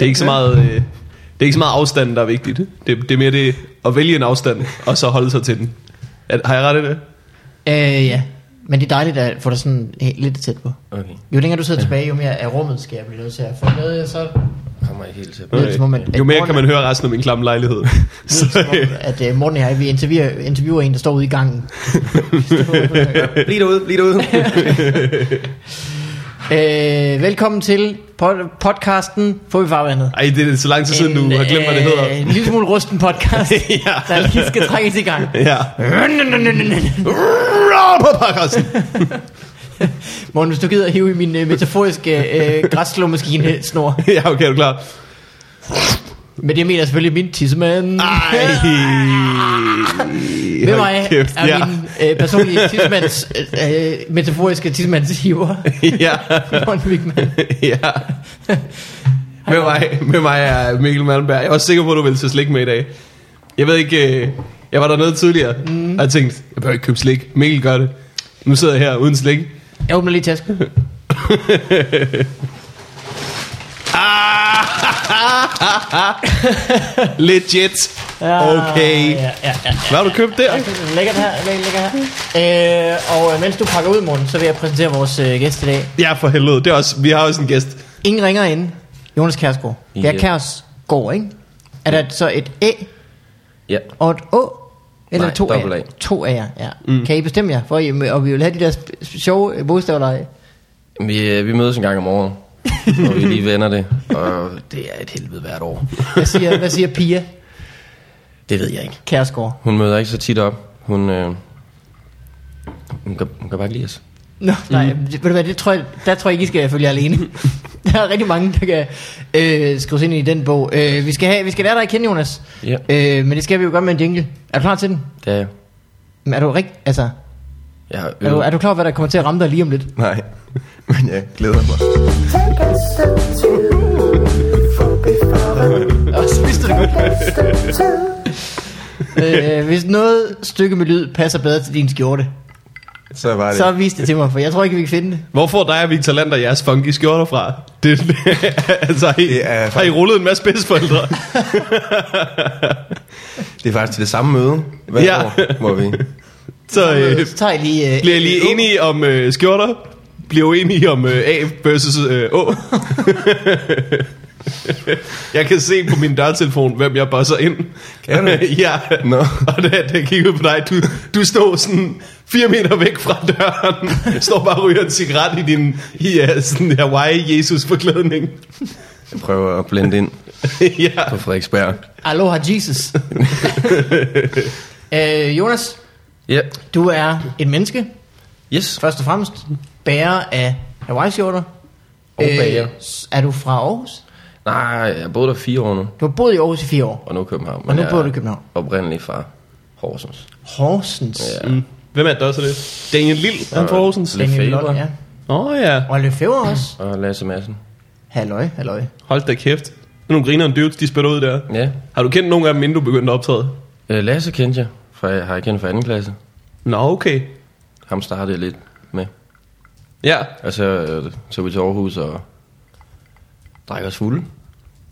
Det er ikke så meget... Øh, det er ikke så meget afstanden, der er vigtigt. Det, det er mere det at vælge en afstand, og så holde sig til den. Er, har jeg ret i det? Øh, ja. Men det er dejligt at få dig sådan eh, lidt tæt på. Okay, Jo længere du sidder tilbage, jo mere af rummet skal jeg blive nødt til at få med, så kommer jeg helt til. lyder det som om, at, Jo mere at kan man høre resten af min klamme lejlighed. lyder det Så, som om, at øh, Morten og jeg, vi interviewer, interviewer en, der står ude i gangen. Bliv derude, bliv derude. øh, velkommen til pod- podcasten Få vi farvandet. ej, det er så lang tid siden, du har glemt, hvad det øh, En hedder. lille smule rusten podcast, Ja. der lige skal trækkes i gang. Ja. øh, Morten, hvis du gider at hive i min øh, metaforiske øh, græsslåmaskine snor. Ja, okay, er du klar? Men jeg mener selvfølgelig min tissemand. Ej. Ved Hold mig kæft, er ja. min øh, personlige tidsmands, øh, øh, metaforiske tidsmands hiver, ja. Morten Wigman. ja. Med mig, med mig er Mikkel Malmberg. Jeg er også sikker på, at du vil til slik med i dag. Jeg ved ikke... øh, Jeg var dernede tidligere, mm. og jeg tænkte, jeg behøver ikke købe slik. Mikkel gør det. Nu sidder jeg her uden slik. Jeg åbner lige tasken. Legit. Ja, Okay. Ah, Ja, ja, ja. Hvad har du købt der? Lækkert her, lækkert, lækkert her. Øh, og øh, mens du pakker ud, Morten, så vil jeg præsentere vores øh, gæst i dag. Ja, for helvede. Det er også, vi har også en gæst. Ingen ringer ind. Jonas Kærsgaard. Det er Ja. Kærsgaard, ikke? Er der så et æ ja, og et å? Eller Nej, to dobbelt A. A'er? To A'er, ja. Mm. Kan I bestemme jer? For, I- og vi vil have de der sp- sjove øh, bogstavleje. vi, øh, vi mødes en gang om året, når vi lige vender det. Og det er et helvede hvert år. Hvad siger, hvad siger Pia Det ved jeg ikke. Kærsgaard? Hun møder ikke så tit op. Hun, øh, hun, kan, hun kan bare ikke lide os. Nå, nej, mm. ved du hvad, det tror jeg, der tror jeg ikke, I skal følge jer alene. der er rigtig mange, der kan øh, skrives ind i den bog. Øh, vi, skal have, vi skal lære dig at kende, Jonas. Ja. Øh, men det skal vi jo gøre med en jingle. Er du klar til den? Det er jeg. Men er du rigt, altså, Jeg har er du, øvet- er du klar over, hvad der kommer til at ramme dig lige om lidt? Nej, men jeg glæder mig. Take a step two, for before Og så vidste du det godt. a step two, øh, hvis noget stykke med lyd passer bedre til din skjorte, Så var så vis det til mig, for jeg tror ikke, vi kan finde det. Hvor får dig og Victor Lander jeres funky skjorter fra? Det, altså, har I, Det er- har I rullet en masse bedsteforældre? Det er faktisk til det samme møde hver Ja. år, hvor vi... Så øh, Så tager jeg lige... Øh, bliver I lige enige om øh, skjorter? Bliver uenige om øh, A versus øh, Å? jeg kan se på min dørtelefon, hvem jeg bosser ind. Kan du? ja. Nå. Og da, da jeg kiggede på dig, du, du stod sådan fire meter væk fra døren. Står bare og ryger en cigaret i din i, ja, sådan Hawaii-Jesus-forklædning. Jeg prøver at blende ind ja. på Frederiksberg. Aloha Jesus. øh, Jonas, Ja. du er et menneske, Yes. Først og fremmest bærer af Hawaii-skjorter. Øh, Og bager. s- Er du fra Aarhus? Øh, Nej, jeg har boet der fire år nu, Du har boet i Aarhus i fire år. og nu i København. men Og nu jeg bor er du i København. Oprindelig fra Horsens. Horsens. Ja. Mm. Hvem er det, der også er det? Daniel Lille, han fra Horsens. Lidt. Daniel Lefebvre. Lund, ja. Åh oh, ja, Og Lefebvre også. Og Lasse Madsen. Halløj, halløj. hold da kæft. Det er nogle grinerne dudes, de spytter ud der. Ja. Har du kendt nogen af dem, inden du begyndte at optræde? Øh, Lasse kendte jeg, fra, har jeg kendt fra anden klasse. Nå, okay. Ham startede jeg lidt med. Ja, Og så øh, tog vi til Aarhus og drak os fulde.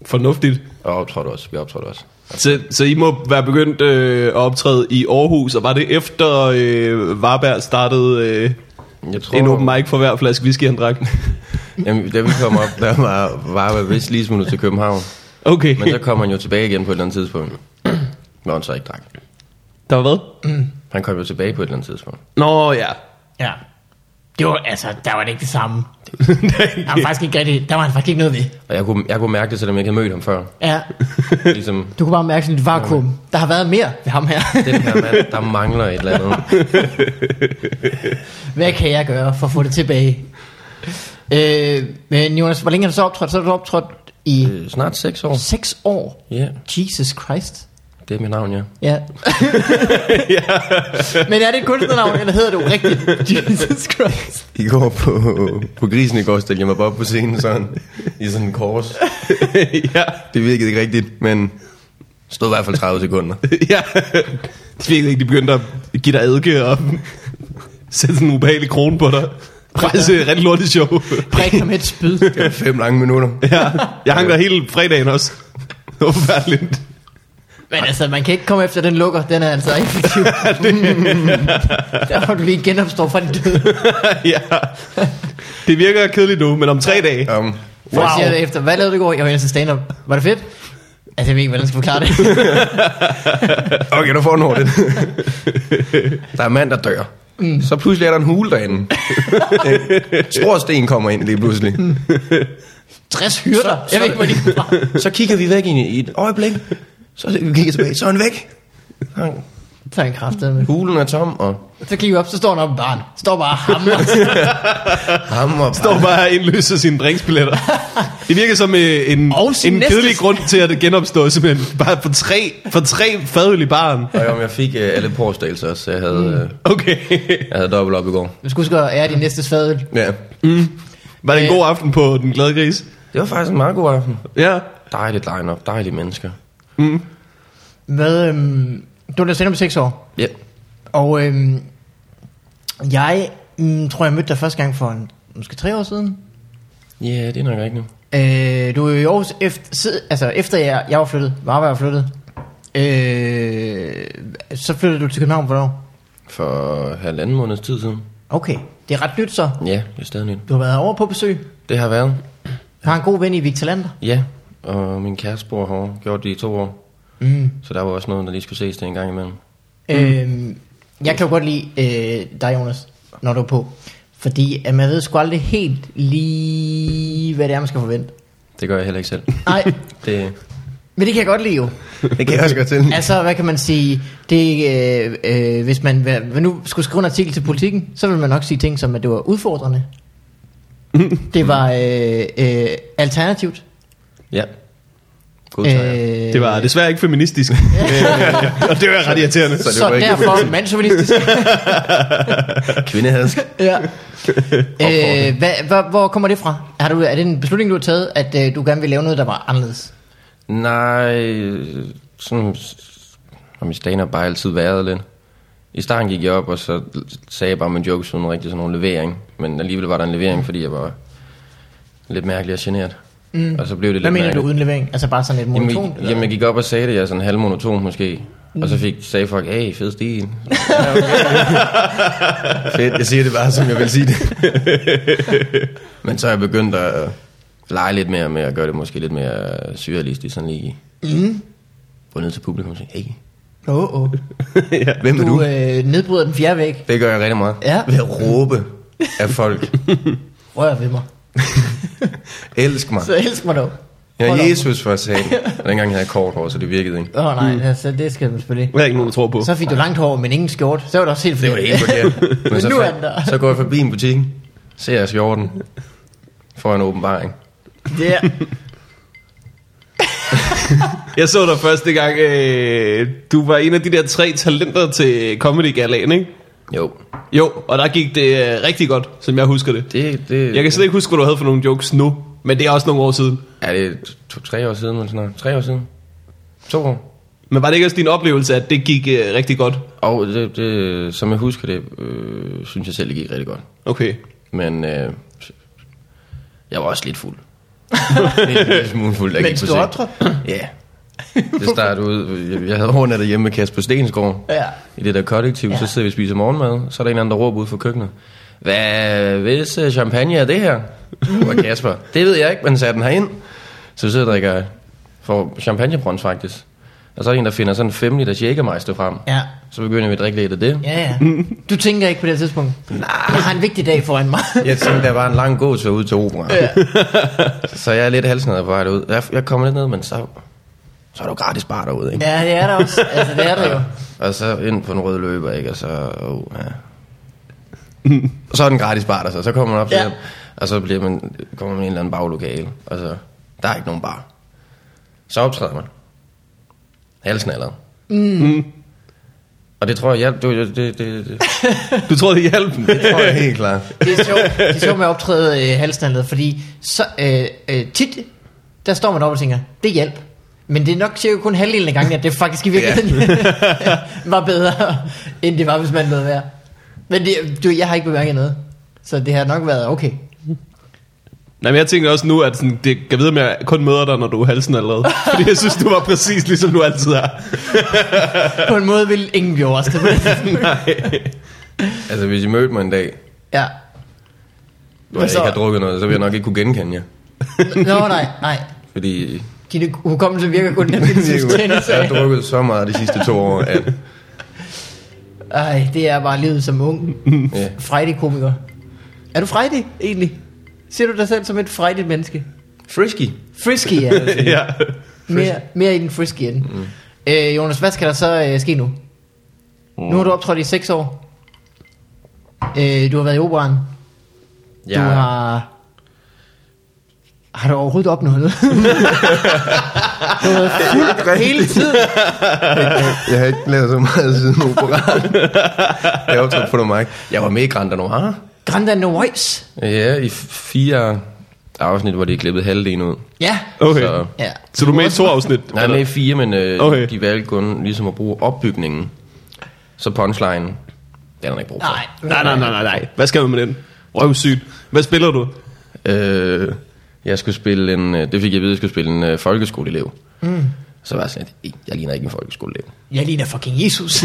fornuftigt. Og optrådte også. Vi optrådte også. Så, så I må være begyndt øh, at optræde i Aarhus, og var det efter øh, Varberg startede øh, Jeg tror, en open mic for hver flaske whisky, han drak? Jamen, da vi kom op, der var, var jeg vist lige smuttet til København. Okay, Men så kom han jo tilbage igen på et eller andet tidspunkt. Hvor han så ikke drak. der var hvad? Han kom jo tilbage på et eller andet tidspunkt. Nå ja. Ja. Det var, altså, der var det ikke det samme. Der var, faktisk ikke rigtig, der var han faktisk ikke noget ved. Og jeg kunne, jeg kunne mærke det, selvom jeg ikke havde mødt ham før. Ja. Ligesom, Du kunne bare mærke sådan et vakuum. Der har været mere ved ham her. den her mand, der mangler et eller andet. Hvad kan jeg gøre for at få det tilbage? Øh, men Jonas, hvor længe har du så optrådt? Så har du optrådt i Øh, Snart seks år. seks år. Ja, Jesus Christ. det er mit navn, ja. Ja. Men er det et kunstnernavn, eller hedder du rigtigt? Jesus Christ. I går på, på grisen i går, stillede jeg mig bare op på scenen sådan, i sådan en kors. ja, Det virkede ikke rigtigt, men stod i hvert fald 30 sekunder. ja. De virkede ikke, de begyndte at give dig adke og sætte sådan en ubehagelig krone på dig. Faktisk et rigtig lortet show. Prik ham et spyd. Det var fem lange minutter. ja. Jeg hang der hele fredagen også. Det var forfærdeligt. Men altså, man kan ikke komme efter den lukker. Den er altså effektiv. Der må du lige genopstå fra den døde. ja. Det virker kedeligt nu, men om tre dage. Um, Wow. Jeg siger det efter, hvad lavede du i går? Jeg var ellers til stand-up. Var det fedt? Altså, jeg ved ikke, hvordan jeg skal forklare det. okay, du får den hurtigt. der er en mand, der dør. Mm. Så pludselig er der en hule derinde. en stor sten kommer ind lige pludselig. 60 hyrder. Jeg ved ikke, hvor de kom fra. Så kigger vi væk ind i i et øjeblik. Så kigger vi tilbage. Så er han væk. Så er han- Så er han kraftet med. Hulen er tom, og Så kigger vi op, så står han oppe i barn. Står bare og hamrer. ham og Står bare og indløser sine drinksbilletter. Det virker som øh, en, Og sin en næste- kedelig grund til at genopstå, simpelthen. Bare for tre, for tre fadøl i baren. Og jo, men jeg fik øh, alle påstagelser også. Jeg havde, øh, Okay. jeg havde dobbelt op i går. Du skal huske at ære din næste fadøl. Ja. Var det en Øh. god aften på Den Glade Gris? Det var faktisk en meget god aften. Ja. Dejligt line-up, dejlige mennesker. Hvad, øhm, du har stand om 6 år. Ja. Og øhm, jeg mm, tror, jeg mødte dig første gang for en, måske tre år siden. Ja, det er nok rigtigt. Øh, du er jo i Aarhus efter, sid- altså efter jeg, jeg var flyttet, Varberg var flyttet, øh, så flyttede du til København, hvornår? For halvanden måneds tid siden. Okay, det er ret nyt så. Ja, det er stadig nyt. Du har været over på besøg. Det har været. Jeg har en god ven i Victor Lander. Ja, og min kæreste bor har gjort det i to år. Mm. Så der var også noget, der lige skulle ses det en gang imellem. Øh, jeg kan jo godt lide øh, dig, Jonas, når du er på. Fordi at man ved sgu aldrig helt lige, hvad det er, man skal forvente. Det gør jeg heller ikke selv. Nej, Det, men det kan jeg godt lide jo. det kan jeg også godt til. Altså, hvad kan man sige? Det, øh, øh, hvis man hvad, nu skulle skrive en artikel til politikken, så ville man nok sige ting som, at det var udfordrende. det var øh, øh, alternativt. Ja. God øh, Det var desværre ikke feministisk. Øh, og det var ret irriterende. det så var ikke- derfor mandsjournalistisk. Kvindehask. ja. øh, hvad, hvor, hvor kommer det fra? Har du, er det en beslutning, du har taget, at øh, du gerne vil lave noget, der var anderledes? Nej, øh, sådan s- har min stand bare altid været lidt. I starten gik jeg op, og så sagde jeg bare min jokes uden rigtig sådan en levering. Men alligevel var der en Mm. levering, fordi jeg var lidt mærkelig og generet. Mm. Og så blev det Hvad lidt mener du mærkeligt. uden levering? Altså bare sådan lidt monotont? Jamen, jeg- jamen, jeg gik op og sagde det, jeg er sådan halv monoton måske. Mm. Og så fik, sagde folk, hey, fed stil. Ja, okay. Fedt, jeg siger det bare, som jeg vil sige det. Men så er jeg begyndt at lege lidt mere med at gøre det måske lidt mere surrealistisk, sådan lige Mm. gå ned til publikum og sige, hey, Oh, oh. ja. hvem er Du du? øh, nedbryder den fjerde væg. Det gør jeg rigtig meget. Ja. Ved at råbe af folk, Rør ved mig. elsk mig. Så elsk mig dog. Jeg Hold er op. Jesus for at sige. Og dengang havde jeg kort hår, så det virkede ikke. Åh oh, nej, mm. altså, det skal man selvfølgelig ikke. Det er ikke nogen, der tror på. Så fik du langt hår, men ingen skjort. Så var det også helt Det var helt forkert. Men så, nu er den der. så går jeg forbi en butik, ser jeg skjorten, får en åbenbaring. Ja. Jeg så dig første gang, øh, du var en af de der tre talenter til Comedy Galaen, ikke? Jo, Jo, og der gik det øh, rigtig godt, som jeg husker det. det, det, Øh, Jeg kan slet ikke huske, hvad du havde for nogle jokes nu, men det er også nogle år siden. er det to, tre år siden eller sådan noget? Tre år siden? To år? Men var det ikke også din oplevelse, at det gik øh, rigtig godt? Og det, det, som jeg husker det, øh, synes jeg selv, det gik rigtig godt. Okay. Men øh, jeg var også lidt fuld. en lille smule fuld, der Mens du optrådte? Ja. Det startede ud, jeg- jeg havde overnattet hjemme med Kasper Stensgaard. ja. I det der kollektiv, ja. så sidder vi og spiser morgenmad, så er der en eller anden, der råber ud fra køkkenet. Hvad, hvis øh, champagne er det her? Uh, Og Kasper, det ved jeg ikke, men satte den herind. Så vi sidder og drikker for champagnebrons faktisk. Og så er der en, der finder sådan en 5 liters jægermeister frem. Ja. Så begynder vi at drikke lidt af det. Ja, ja. Du tænker ikke på det her tidspunkt. Nej. Jeg har en vigtig dag foran mig. Jeg tænkte, der var en lang god tur ud til opera. Ja. Så jeg er lidt halsnede på vej derud. Jeg, jeg kommer lidt ned, men så, så er der jo gratis bar derude, ikke? ja, det er der også. Altså, det er der jo. Og så ind på en rød løber, ikke? Og så, oh, ja. Og så er den gratis bar, der så. Så kommer man op til Ja. ja. og så bliver man, kommer man i en eller anden baglokale, og så, der er ikke nogen bar. Så optræder man. Halsnalleret. Mm. Og det tror jeg, jeg det, det, det, det, Du tror, det hjalp? det tror jeg helt klart. Det er sjovt, det er sjovt med at optræde øh, halsnallet, fordi så, øh, øh, tit, der står man op og tænker, det hjælp. Men det er nok cirka kun halvdelen af gangen, at det faktisk i virkeligheden var bedre, end det var, hvis man lød være. Men det, du, jeg har ikke bemærket noget. Så det har nok været okay. Nej, men jeg tænker også nu, at sådan, det kan videre med, at jeg kun møder dig, når du er halsen allerede. Fordi jeg synes, du var præcis ligesom du altid er. På en måde vil ingen blive overrasket. Nej. Altså, hvis I mødte mig en dag, ja. hvor jeg så? ikke har drukket noget, så ville jeg nok ikke kunne genkende jer. Nå, nej, nej. Fordi Din hukommelse virker kun den findes jeg har af. drukket så meget de sidste to år, at Ej, det er bare livet som ung. ja, Friday-komiker. Er du Friday, egentlig? Ser du dig selv som et Friday-menneske? frisky. Frisky, ja. ja. Mere, mere i den frisky end. Mm. Øh, Jonas, hvad skal der så øh, ske nu? Mm. Nu har du optrådt i 6 år. Øh, du har været i operan. Ja. Du har... Har du overhovedet opnået noget? du har været fuld hele tiden. Jeg har ikke lavet så meget siden operan. jeg har optrådt på noget mic. Jeg var med i Grand Noir. Grand Anne Voice. Ja, i f- fire afsnit, hvor de er klippet halvdelen ud. Ja. Okay. Så, Så, ja. så du er med i to afsnit? nej, med i fire, men øh, Okay. okay. de valgte kun ligesom at bruge opbygningen. Så punchline, den er der ikke brug for. Nej. Nej, nej, nej, nej, nej. Hvad skal man med den? Røvsygt. Hvad spiller du? Øh, jeg skulle spille en, øh, det fik jeg at vide, jeg skulle spille en øh, folkeskoleelev. Mm. Så var jeg sådan lidt, "Ej, jeg ligner ikke en folkeskoleelev. Jeg ligner fucking Jesus.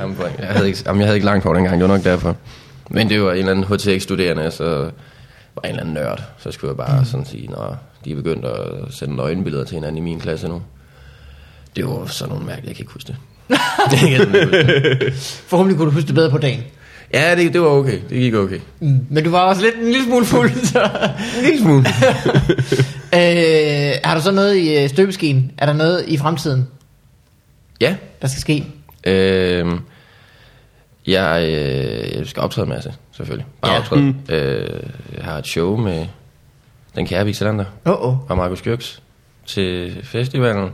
Jamen, for- jeg, havde ikke, jamen, jeg havde ikke langt hår dengang, det var nok derfor. Men det var en eller anden HTX-studerende, så var en eller anden nørd. Så skulle jeg bare sådan sige, når de er begyndt at sende nøgenbilleder til hinanden i min klasse nu. Det var sådan nogle mærkelige, jeg kan ikke huske det. Jeg kan simpelthen ikke huske det. Forhåbentlig kunne du huske det bedre på dagen. ja, det, det var okay. Det gik okay. Mm. Men du var også lidt en lille smule fuld. Så. En lille smule. øh, har du så noget i øh, støbeskeen? Er der noget i fremtiden, Ja. der skal ske? Øh, jeg, øh, jeg skal optræde en masse, selvfølgelig. Bare Ja. ja. optræde. Mm. Øh, jeg har et show med den kære Vixilander. Åh, oh, oh. og Markus Gjørks til festivalen.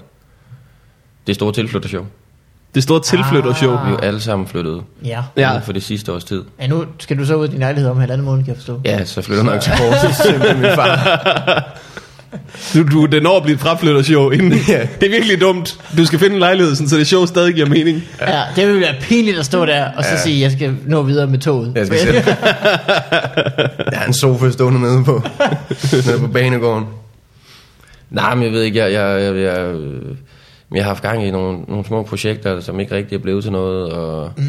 Det store tilflyttershow. Det store tilflyttershow. Vi er jo alle sammen flyttet Ja. Ja. Ah. ja. for det sidste års tid. ja. nu skal du så ud i din lejlighed om halvanden måned, kan jeg forstå. Ja, så flytter jeg nok til Horsens med min far. Du, du, det når at blive et fraflyttershow inden. Ja. Det er virkelig dumt. Du skal finde en lejlighed, sådan, så det show stadig giver mening. ja. det ville være pinligt at stå der, og så ja. sige, jeg skal nå videre med toget. Jeg skal sætte. Der er en sofa stående nede på, nede på banegården. Nej, men jeg ved ikke, jeg, jeg, jeg, jeg, øh, jeg har haft gang i nogle, nogle små projekter, som ikke rigtig er blevet til noget, og mm.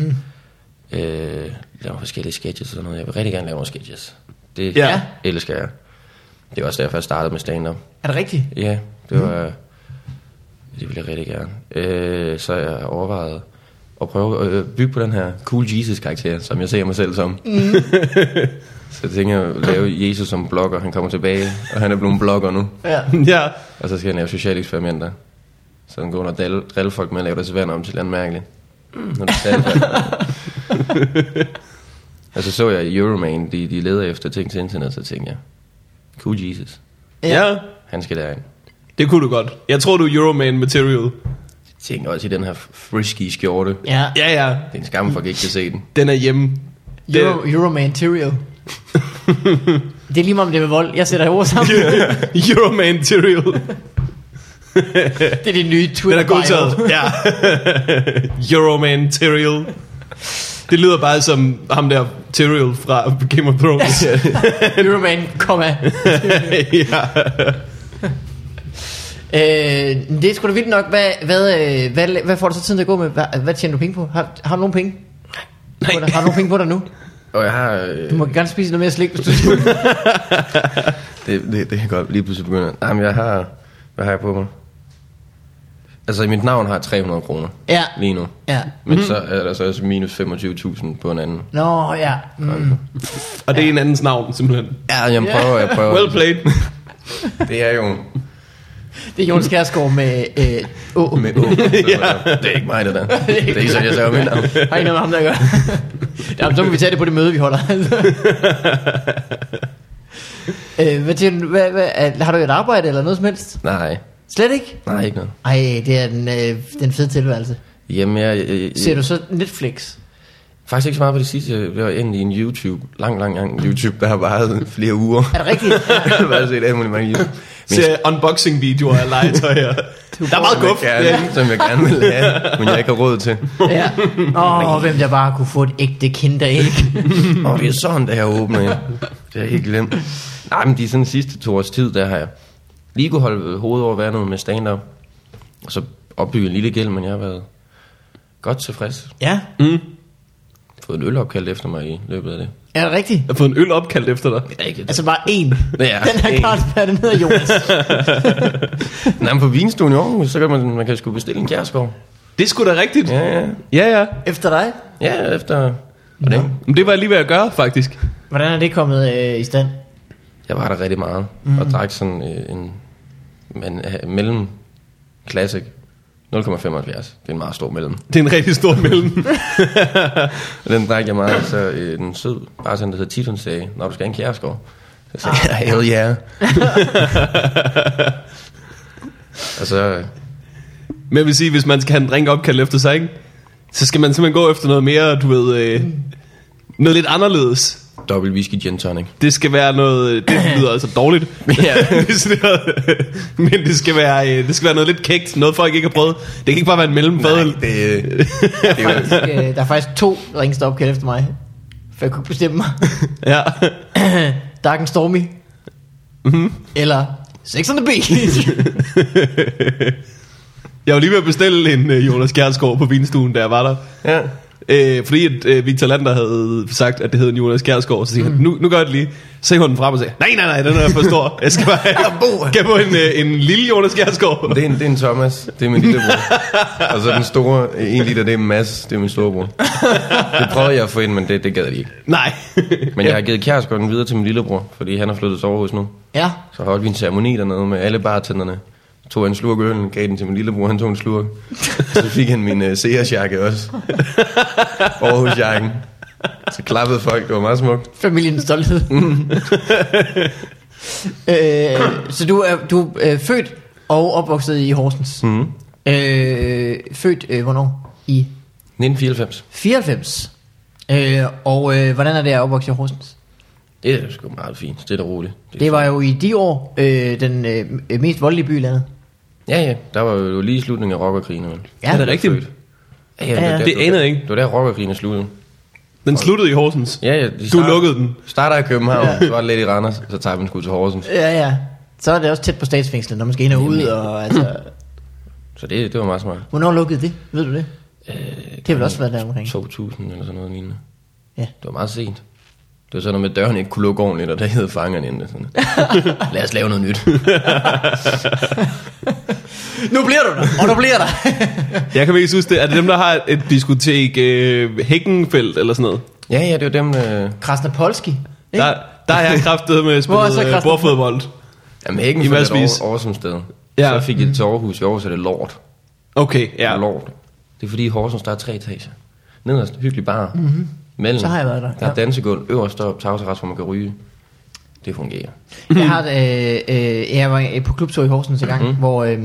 øh, lave nogle forskellige sketches og sådan noget. Jeg vil rigtig gerne lave nogle sketches. Det Ja. ja. elsker jeg. Det er også derfor, jeg startede med stand-up. Er det rigtigt? Ja, det var... øh, Det ville jeg rigtig gerne. Øh, så jeg overvejede at prøve at øh, bygge på den her cool Jesus-karakter, som jeg ser mig selv som. Mm. så tænker jeg at lave Jesus som blogger. Han kommer tilbage, og han er blevet en blogger nu. Ja. ja. Og så skal han lave sociale eksperimenter. Så han går under og drille- drille folk med at lave deres vand om til et eller andet mærkeligt. Når det taler Og så så jeg i Euroman, de, de leder efter ting til internet, så tænkte jeg, cool Jesus, ja. ja. han skal derind. Det kunne du godt. Jeg tror, du er Euroman material. tænker også i den her frisky skjorte. Det ja. Ja, ja. er en skam, folk ikke kan se den. Den er hjemme. Det, Euro, Euroman Tyrio. det er lige meget om det er med vold. Jeg sætter ord sammen. Euroman material. Det er det nye Den Twitter. er godtaget. Ja. Euroman material. Det lyder bare som ham der Tyrael fra Game of Thrones. Euroman, komma. ja. Øh, det er sgu da vildt nok. Hvad, hvad, øh, hvad, hvad får du så tiden til at gå med? Hvad, hvad tjener du penge på? Har, har du nogen penge? Nej. På dig? Har du nogen penge på dig nu? Og jeg har... Øh, Du må gerne spise noget mere slik, hvis du det, det, det kan godt lige pludselig begynde. Jamen, jeg har... Hvad har jeg på mig? Altså, i mit navn har jeg 300 kroner Ja. lige nu. Ja. Men så er der så også minus 25.000 på en anden. Nå, ja. Mm. Og det er en andens navn, simpelthen. Ja, jeg prøver, jeg prøver. Well played. Det er jo... Det er Jonas Kjærsgaard med... Øh, åh. Med, oh, ja. Det er ikke mig, det der. Det er ikke sådan, jeg sagde mit navn. Har ikke noget med ham, der gør. Jamen, så må vi tage det på det møde, vi holder. øh, hvad tjener du? Hvad, hvad, er- har du et arbejde eller noget som helst? Nej, Slet ikke? nej, ikke noget. Ej, det er den, øh, den fede tilværelse. Jamen, jeg... jeg, jeg Ser du så Netflix? Faktisk ikke så meget på det sidste. Jeg var egentlig en YouTube. Lang, lang, lang YouTube, der har varet flere uger. Er det rigtigt? jeg har bare set alt muligt mange YouTube. ser unboxing-videoer af legetøj her. Der er meget guf. Som jeg, gerne, som jeg gerne vil have, men jeg ikke har råd til. Ja. Åh, oh, hvem der bare kunne få et ægte kinderæg. Åh, oh, det er sådan, det her åbner jeg. Det har jeg helt glemt. Nej, men de sådan sidste to års tid, der har jeg lige kunne holde hovedet over vandet med stand-up. Og så opbygge en lille gæld, men jeg har været godt tilfreds. ja, Fået en ølopkald efter mig i løbet af det. er det rigtigt? Jeg har fået en øl opkaldt efter dig. Det er ikke Altså bare én. Ja, Den her én. Carlsberg, den hedder Jonas. Nej, men på vinstuen i Aarhus, så kan man, man kan sgu bestille en kærskov. Det er sgu da rigtigt. Ja, ja. Ja, ja. Efter dig? Ja, efter... Hvordan? Men det var jeg lige ved at gøre, faktisk. Hvordan er det kommet øh, i stand? Jeg var der rigtig meget, mm. og drak sådan øh, en, en, en mellem classic. 0,75. Det er en meget stor mellem. Det er en rigtig stor mellem. Og den drak jeg meget, så øh, en sød bartender, der hedder Tito, hun sagde, når du skal have en kjærskov. Så sagde jeg, hell yeah. og så, øh, Men jeg vil sige, hvis man skal have en drink opkaldt efter sig, ikke? så skal man simpelthen gå efter noget mere, du ved, øh, Mm. noget lidt anderledes. dobbelt whisky gin tonic. Det skal være noget... Det lyder altså dårligt. Ja. Hvis det er- Men det skal, være, øh, det skal være noget lidt kægt. Noget folk ikke har prøvet. Det kan ikke bare være en mellempad. det, øh, det er jo- Faktisk, øh, der er faktisk to rings, der er opkaldt efter mig. For jeg kunne ikke bestemme mig. Ja. Dark and Stormy. Mm-hmm. Mm-hmm. Eller Sex on the Beach. Jeg var lige ved at bestille en øh, Jonas Kjærsgaard på vinstuen, da jeg var der. ja. Øh, fordi at, øh, Victor Lander havde sagt, at det hed en Jonas Kjærsgaard, så siger mm. han, nu, nu gør jeg det lige. Så hæver den frem og siger, nej, nej, nej, den er for stor. Jeg skal bare have kan jeg få en, øh, en lille Jonas Kjærsgaard. Det er, en, det er en Thomas, det er min lillebror. og så den store, øh, en liter, det er Mads, det er min storebror. Det prøvede jeg at få ind, men det, det gad de ikke. Nej. Men jeg har givet kærskoden videre til min lillebror, fordi han har flyttet til Aarhus nu. ja. Så holdt vi en ceremoni dernede med alle bartenderne. Tog en slurk øl, gav den til min lillebror, han tog en slurk. Så fik han min uh, Sears-jakke også. Aarhus-jakken. Så klappede folk, det var meget smukt. Familiens stolthed. Mm-hmm. øh, så du er, du er født og opvokset i Horsens. Mm-hmm. Mm. Øh, født, øh, hvornår? I 1994. 94. Øh, og øh, hvordan er det at opvokse i Horsens? Det er sgu meget fint, det er da roligt. Det var jo i de år øh, den øh, mest voldelige by i landet. Ja, ja, der var jo lige slutningen af rockerkrigene. vel? Ja. er det rigtigt? Født. Ja, ja, Ja, ja. der- Det var- anede jeg ikke. Det var der rockerkrigene sluttede. Den sluttede i Horsens. Ja, ja, de Du lukkede den. Starter i København, så var det lidt i Randers, så tager vi den sgu til Horsens. Ja, ja. Så er det også tæt på statsfængslet, når man skal ind og ud. Og, altså, Så det, det var meget smart. hvornår lukkede det? Ved du det? det har vel også været der omkring. 2000 eller sådan noget lignende. Ja. Det var meget sent. Det var sådan noget med, at døren ikke kunne lukke ordentligt, og der hed fangerne inde. Sådan. Lad os lave noget nyt. Nu bliver du der, og nu bliver der. Jeg kan ikke huske det. Er det dem, der har et diskotek øh, Hækkenfeldt eller sådan noget? Ja, ja, det var dem, øh, der... Krasnopolski. ikke? Der, der har jeg kraftet med at spille Hvor er så øh, Christian- bordfodbold. Jamen, ikke I I Mads et Vis. over, over som sted. Ja. Ja. Så fik jeg det til Aarhus. I Aarhus er det lort. Okay, ja. Ja. Lort. Det er fordi i Horsens, der er tre etager. Nederst, hyggelig bar. Mm-hmm. Mellem, Mhm. Så har jeg været der, Der er ja. dansegulv. Øverst op, tagterrasse, hvor man kan ryge. Det fungerer. Jeg, har, et, øh, øh, jeg var øh, på klubtur i Horsens en gang, mm-hmm. hvor øh,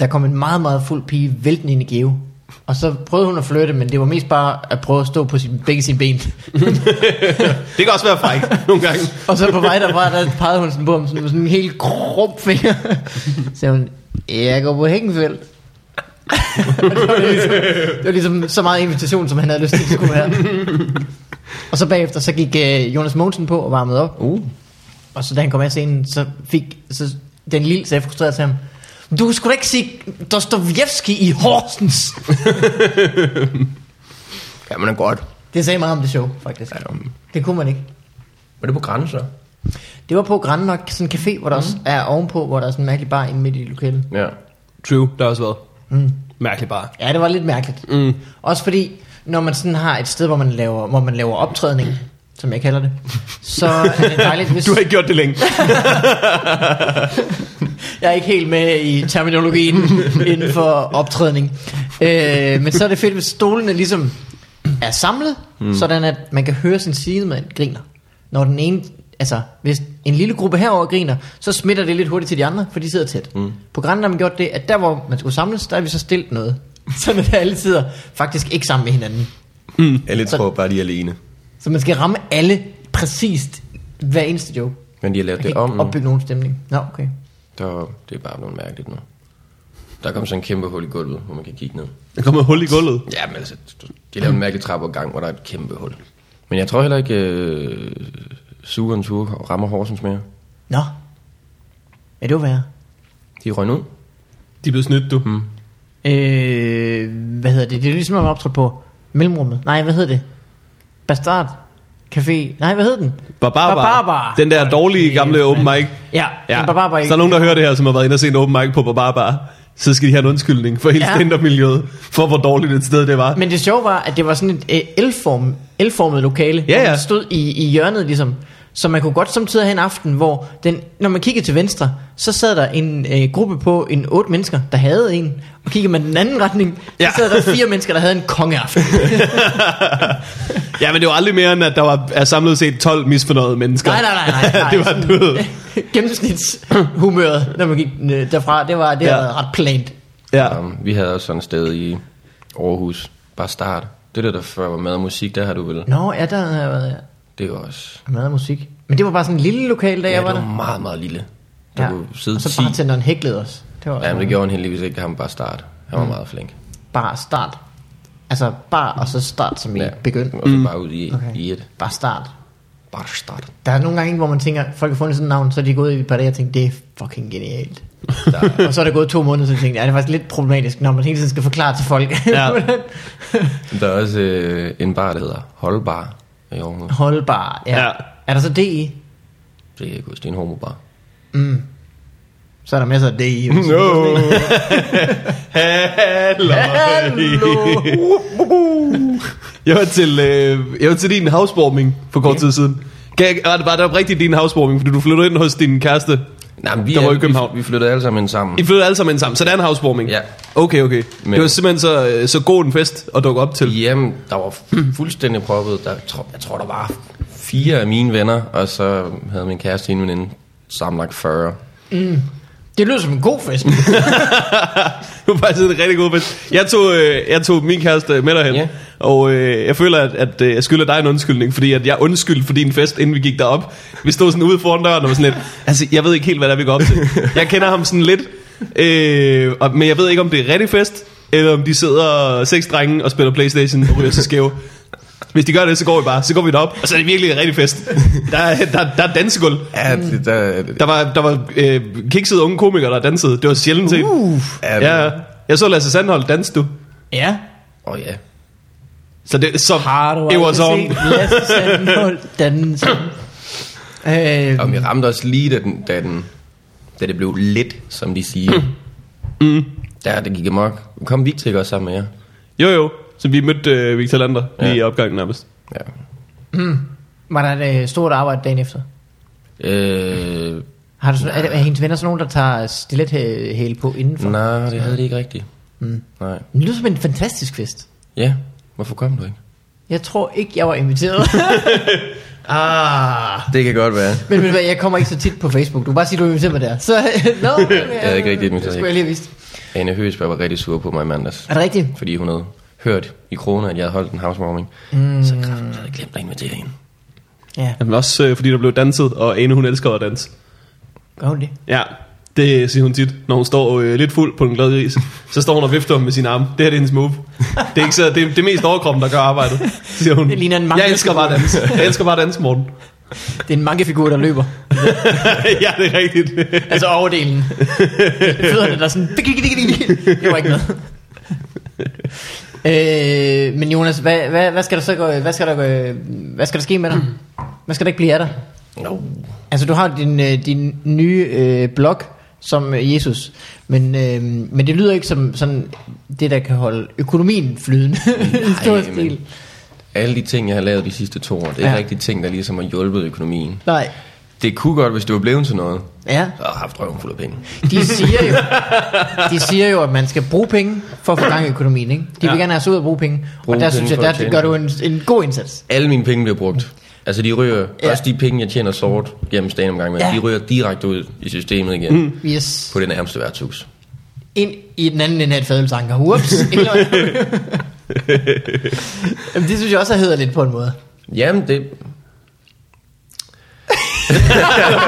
der kom en meget, meget fuld pige væltende ind i Geo. Og så prøvede hun at flytte, men det var mest bare at prøve at stå på sin, begge sine ben. Det kan også være frækt nogle gange. og så på vej derfra, der pegede hun sådan på ham sådan, med sådan en helt krum finger. Så sagde hun, jeg går på Hækkenfeldt. Og det, var ligesom, det var ligesom så meget invitation, som han havde lyst til at skulle være. Og så bagefter, så gik øh, Jonas Mogensen på og varmede op. Uh. Og så da han kom af scenen, så fik så den lille sagde frustreret til ham, du skulle da ikke sige Dostojevski i Horsens. Ja, men er godt. Det sagde meget om det show, faktisk. Ja, um, Det kunne man ikke. var det på grænser? Det var på Grand Nok, sådan en café, Mm. hvor der også er ovenpå, hvor der er sådan en mærkelig bar inde midt i lokalet. Ja. True, der har også været. Mm. Mærkeligt bare. Ja, det var lidt mærkeligt. Mm. Også fordi, når man sådan har et sted, hvor man laver, hvor man laver optrædning, som jeg kalder det, så er det dejligt, hvis... Du har ikke gjort det længe. Jeg er ikke helt med i terminologien inden for optrædning. Øh, men så er det fedt, hvis stolene ligesom er samlet, mm. sådan at man kan høre sin sidemand griner. Når den ene, altså hvis en lille gruppe herover griner, så smitter det lidt hurtigt til de andre, for de sidder tæt. Mm. På Grænland har man gjort det, at der hvor man skulle samles, der har vi så stillet noget. Sådan at alle sidder faktisk ikke sammen med hinanden. Alle tror bare, de er alene. Så man skal ramme alle præcist hver eneste joke. Men de har lavet Man kan det ikke om nu. opbygge nogen stemning. Nå, okay. Der var, det er bare blevet mærkeligt nu. Der kom sådan en kæmpe hul i gulvet, hvor man kan kigge ned. Der kommer et hul i gulvet. Ja, men altså, de lavede en mærkelig trappeopgang, hvor der er et kæmpe hul. Men jeg tror heller ikke, øh, Suren Tur rammer Horsens mere. Nå. Ja, det var værre. De røg ud. De er blevet snydt, du. Mm. Øh, hvad hedder det? Det er ligesom at optræde på Mellemrummet. Nej, hvad hedder det? Bastard Café. Nej, hvad hedder den? Barbarbar. Barbarbar. Den der dårlige gamle open mic. Ja, Ja. ja. Barbarbar. Så er nogen, der hører det her, som har været inde og set en open mic på Barbarbar. Så skal de have en undskyldning for hele Ja. stand-up-miljøet, for hvor dårligt et sted det var. Men det sjove var, at det var sådan et øh, L-form, L-formet lokale, Ja, hvor ja. man stod i, i hjørnet ligesom. Så man kunne godt samtidig have en aften, hvor den, når man kiggede til venstre, så sad der en øh, gruppe på en otte mennesker, der havde en. Og kiggede man den anden retning, så Ja. ja. sad der fire mennesker, der havde en kongeaften. Ja, men det var aldrig mere end, at der var er samlet set 12 misfornøjede mennesker. Nej, nej, nej, nej, nej. det var du. ved. Gennemsnitshumøret, når man gik øh, derfra, det var, det Ja. ja. var ret plant. Ja. Um, vi havde også sådan et sted i Aarhus. Bare start. Det der, der før var mad og musik, der har du vel. Nå, ja, der havde jeg været Det var også... ja, mad og musik. Men det var bare sådan en lille lokal, da Ja, jeg det var var der. meget, meget lille. Der ja. kunne sidde og 10. så bartenderen hæklede os. Det var Ja, men det gjorde han heldigvis ikke. Han var bare start. Han var Mm. meget flink. bare start. Altså bar og så start, som I Ja. ja. begyndte. Og så bare ud i, okay. Mm. Okay. i et. Bare start. Bare start. Der er nogle gange, hvor man tænker, folk har fundet sådan et navn, så er de gået i et par dage og tænkt, det er fucking genialt. Der, og så er der gået to måneder, så tænkte jeg, ja, det er faktisk lidt problematisk, når man hele tiden skal forklare til folk. Ja. hvordan- der er også øh, en bar, der hedder Holdbar i Aarhus. Holdbar. Ja. Ja. ja. Er der så DI? Det er ikke det er en homobar. Så er der masser af DI. No. No. Hallo. Jeg var til, øh, jeg var til din housewarming for kort tid siden. Kan jeg, var det var det rigtig din housewarming, fordi du flyttede ind hos din kæreste? Nej, men vi, Der var er, i København. vi, vi flyttede alle sammen ind sammen. I flyttede alle sammen ind sammen, så det er en housewarming? Ja. Okay, okay. Men. Men- Det var simpelthen så, øh, så god en fest at dukke op til. Jamen, der var fu- fuldstændig proppet. Der, tro, jeg tror, der var fire af mine venner, og så havde min kæreste en veninde sammenlagt 40. Det lyder som en god fest. Det var faktisk en rigtig god fest. Jeg tog, øh, jeg tog min kæreste med derhen, Ja. og øh, jeg føler, at, at øh, jeg skylder dig en undskyldning, fordi at jeg undskyldte for din fest, inden vi gik derop. Vi stod sådan ude foran døren og var sådan lidt, altså jeg ved ikke helt, hvad der vi går op til. Jeg kender ham sådan lidt, øh, og, men jeg ved ikke, om det er rigtig fest, eller om de sidder seks drenge og spiller Playstation og ryger sig skæve. Hvis de gør det, så går vi bare, så går vi derop, og så er det virkelig en rigtig fest. Der, er- der, der er dansegulv. Ja, det, der, Der var, der var øh, kiksede unge komikere, der dansede. Det var sjældent set. Uh. er, Ja, ja. jeg så Lasse Sandholm danse, du. Ja. Åh oh, ja. Så det så Har du it was on. aldrig set Lasse Sandholt danse? Øh, Og vi ramte også lige, da, den, da, den, da det blev lidt, som de siger. Mm. Der, det gik amok. Kom Victor ikke også sammen med jer? Jo jo, så vi mødte øh, Victor Lander lige Ja. i opgangen nærmest. Ja. var der et øh, stort arbejde dagen efter? Øh, Har du sådan, er, det, er hendes venner sådan nogen, der tager stilethæle på indenfor? nej, det havde det ikke rigtigt. Mm. Nej. Det lyder som en fantastisk fest. Ja, hvorfor kom du ikke? Jeg tror ikke, jeg var inviteret. ah. Det kan godt være. Men, men jeg kommer ikke så tit på Facebook. Du kan bare sige, du inviterer mig der. Så, no, jeg havde ikke rigtig inviteret. Det skulle jeg lige have vidst. Anne Høgsberg var rigtig sur på mig i mandags. Er det rigtigt? fordi hun havde hørt i kroner, at jeg havde holdt en housewarming. Mm. Så kraften havde jeg glemt at invitere hende. Ja, Jamen også øh, fordi der blev danset, og Ane hun elsker at danse. gør hun det? Ja, det siger hun tit, når hun står øh, lidt fuld på en glad gris. Så står hun og vifter med sine arme. Det her det er hendes move. Det er, ikke så, det, er- det er mest overkroppen, der gør arbejdet, siger hun. Det ligner en Jeg elsker bare at mangelfigur. danse. Jeg elsker bare at danse, Morten. Det er en mankefigur, der løber. ja, det er rigtigt. Altså overdelen. Fødderne, der er sådan... Det var ikke noget. øh, men Jonas, hvad, hvad, hvad, skal der så gå, hvad, skal der gå, hvad skal der ske med dig? Hvad skal der ikke blive af dig? No. Altså, du har din, øh, din nye øh, blog som øh, Jesus, men, øh, men det lyder ikke som sådan det, der kan holde økonomien flydende i stor men- stil. Alle de ting, jeg har lavet de sidste to år, det er ja. ikke Ja. rigtig ting, der ligesom har hjulpet økonomien. Nej. Det kunne godt, hvis det var blevet til noget. Ja, Så har jeg haft røven fuld af penge. de siger, jo, de siger jo, at man skal bruge penge for at få gang i økonomien. Ikke? De ja. Ja. vil gerne have os ud og bruge penge, Bruge og der penge synes jeg, for at der tjene gør du en, en god indsats. Alle mine penge bliver brugt. Altså de ryger, ja. Ja. også de penge, jeg tjener sort gennem stand omgang med, ja. Ja. de ryger direkte ud i systemet igen. Mm. Yes. På det nærmeste værtshus. Ind i den anden ende af et fadelsanker. Ups. Jamen, det synes jeg også er hederligt på en måde. Jamen det... Nu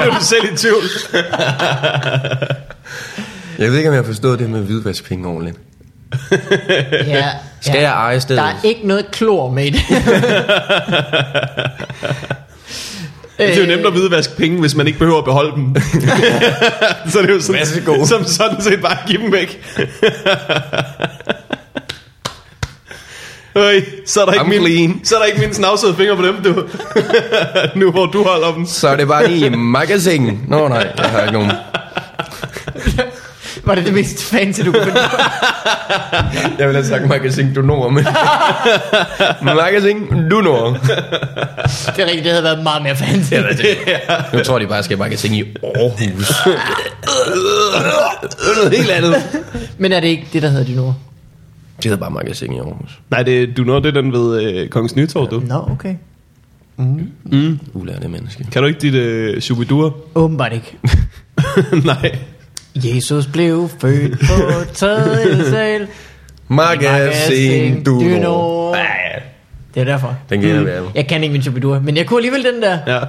er du selv i tvivl. Jeg ved ikke, om jeg har forstået det med hvidvaskpenge ordentligt. Ja, Skal ja. jeg eje stedet? Der er ikke noget klor med i det. Det Øh, er jo nemt at hvidvaske penge, hvis man ikke behøver at beholde dem. så det er jo sådan, Værsgo. som sådan set bare give dem væk. Øj, så er der ikke I'm min, clean. så er der ikke mine snavsede fingre på dem, du. nu hvor du holder dem. Så er det bare lige i magasin. Nå nej, jeg har ikke nogen. Var det det mest fancy, du kunne finde på? Jeg vil have sagt magasin du når, men... magasin du når. Det er rigtigt, det havde været meget mere fancy. Nu tror de bare, at jeg skal i magasin i Aarhus. Det er noget helt andet. Men er det ikke det, der hedder din ord? Det hedder bare magasin i Aarhus. Nej, det, du når det er den ved øh, Kongens Nytorv, du. Nå, okay. Ulærende menneske. Kan du ikke dit øh, shubidua? Åbenbart ikke. Nej. Jesus blev født på tredje sal. Magasin du når. Det er derfor. Den gælder vi af. Jeg kan ikke min Chubidur, men jeg kunne alligevel den der. Ja.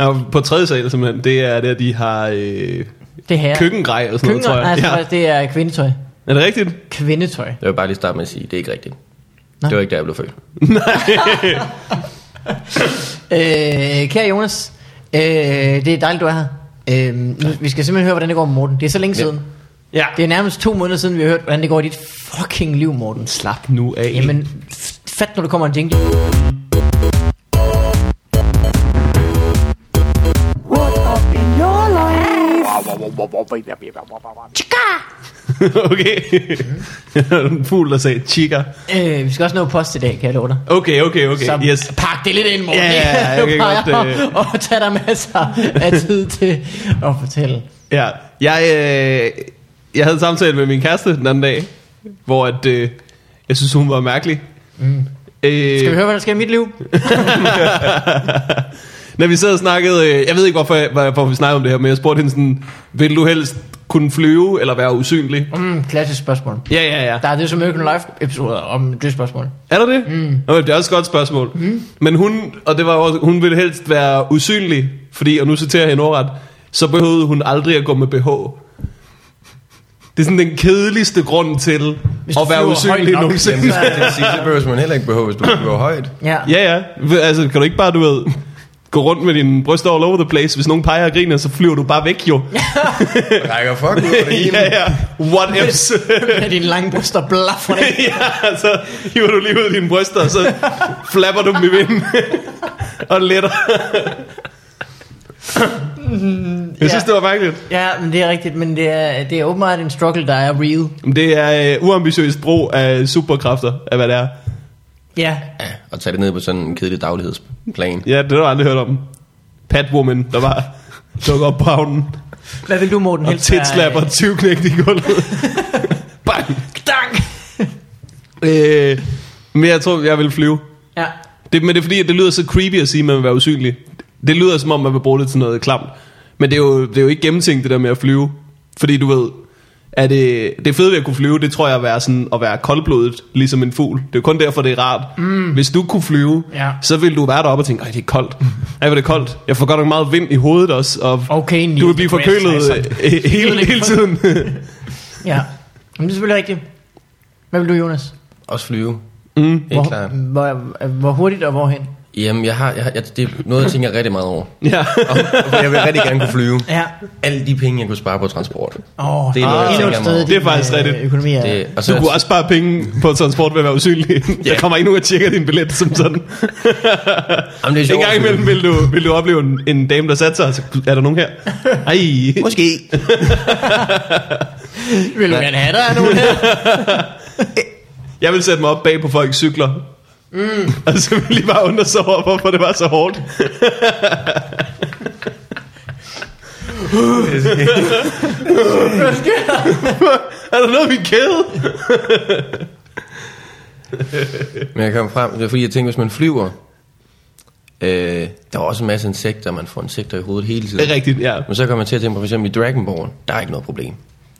ja på tredje sal, simpelthen, det er der, de har øh, Det her. køkkengrej og sådan Køkken, noget, tror jeg. altså, ja. det er kvindetøj. Er det rigtigt? Kvindetøj. Jeg vil bare lige starte med at sige, det er ikke rigtigt. Nej. Det var ikke der, jeg blev født. Øh, kære Jonas, øh, det er dejligt, du er her. Øh, nu, vi skal simpelthen høre, hvordan det går med Morten. Det er så længe Ja. siden. Ja. Det er nærmest to måneder siden, vi har hørt, hvordan det går i dit fucking liv, Morten. Slap nu af. Jamen, f- fat når du kommer en jingle. What up in your life? okay. Det var en fugl, der sagde chica. Øh, vi skal også nå post i dag, kan jeg love dig. Okay, okay, okay. Så Øh, yes. pak det lidt ind, Morten. Ja, ja, ja, jeg kan godt, øh. og, og tag dig masser af tid til at fortælle. Ja. Jeg, øh, jeg havde en samtale med min kæreste den anden dag, hvor at, øh, jeg synes, hun var mærkelig. Mm. Øh, Skal vi høre, hvad der sker i mit liv? Når vi sad og snakkede, øh, jeg ved ikke, hvorfor, jeg- hvorfor vi snakkede om det her, men jeg spurgte hende sådan, vil du helst kunne flyve eller være usynlig? Mm, klassisk spørgsmål. Ja, ja, ja. Der er det som American Life episoder om det spørgsmål. Er der det? Mm. Nå, det er også et godt spørgsmål. Mm. Men hun, og det var også, hun ville helst være usynlig, fordi, og nu citerer jeg hende ordret, så behøvede hun aldrig at gå med BH. Det er sådan den kedeligste grund til Hvis du at være flyver højt usynlig nok, nogensinde. Jamen, så skal jeg sige, så behøver man heller ikke behøve, hvis du går højt. Ja. Ja, ja. V- Altså, kan du ikke bare, du ved, gå rundt med dine bryster all over the place? Hvis nogen peger og griner, så flyver du bare væk, jo. Rækker fuck ud over det hele. ja, ja. What ifs? Med dine lange bryster blaffer det. ja, så hiver du lige ud af dine bryster, og så flapper du dem i vinden. og letter. Jeg synes, ja. det var mærkeligt. Ja, men det er rigtigt, men det er, det er åbenbart en struggle, der er real. Men Det er øh, uambitiøst brug af superkræfter, af hvad det er. Ja. Ja, og tage det ned på sådan en kedelig daglighedsplan. Ja, det har du aldrig hørt om. Patwoman, der var dukker op på havnen Hvad vil du, Morten? og helst være, titslapper øh, 20 knægt i gulvet. Bang! Dank! Øh, men jeg tror, jeg vil flyve. Ja. Det, men det er fordi, at det lyder så creepy at sige, at man vil være usynlig. Det lyder som om, man vil bruge det til noget klamt. Men det er, jo, det er jo ikke gennemtænkt, det der med at flyve. Fordi du ved, at det, det fede ved at kunne flyve, det tror jeg at være sådan, at være koldblodet, ligesom en fugl. Det er jo kun derfor, det er rart. Mm. Hvis du kunne flyve, Ja. så ville du være deroppe og tænke, ej, det er koldt. Ej, hvor er det koldt. Jeg får godt nok meget vind i hovedet også. Og Okay, Neil du vil blive deGrasse forkølet Tyson. øh, øh, hele, hele tiden. Ja. Men det er selvfølgelig rigtigt. Hvad vil du, Jonas? Også flyve. Mm, Helt klart. hvor, hvor hurtigt og hvorhen? Jamen, jeg har, jeg, har- jeg, det er noget, jeg tænker rigtig meget over. ja. Og, og jeg vil rigtig gerne kunne flyve. Ja. Alle de penge, jeg kunne spare på transport. Oh, Det er noget, jeg endnu et tænker sted, meget over. Det er faktisk din, øh, rigtigt. Økonomi er... Det, og så, Du kunne også spare penge på transport ved at være usynlig. Der kommer ikke nogen og tjekker din billet som sådan. Jamen, det er En sjovt. gang imellem vil du, vil du opleve en, en dame, der satte sig, og så er der nogen her? Ej. Måske. Vil du gerne have dig nu her? Jeg vil sætte mig op bag på folks cykler. Mm. Og så vil jeg bare undre sig over, hvorfor det var så hårdt. er der noget i min kæde? Men jeg kom frem, det er fordi, jeg tænkte, hvis man flyver, øh, der er også en masse insekter, man får insekter i hovedet hele tiden. Det er rigtigt, ja. Men så kommer jeg til at tænke på, for eksempel i Dragon Ball, der er ikke noget problem.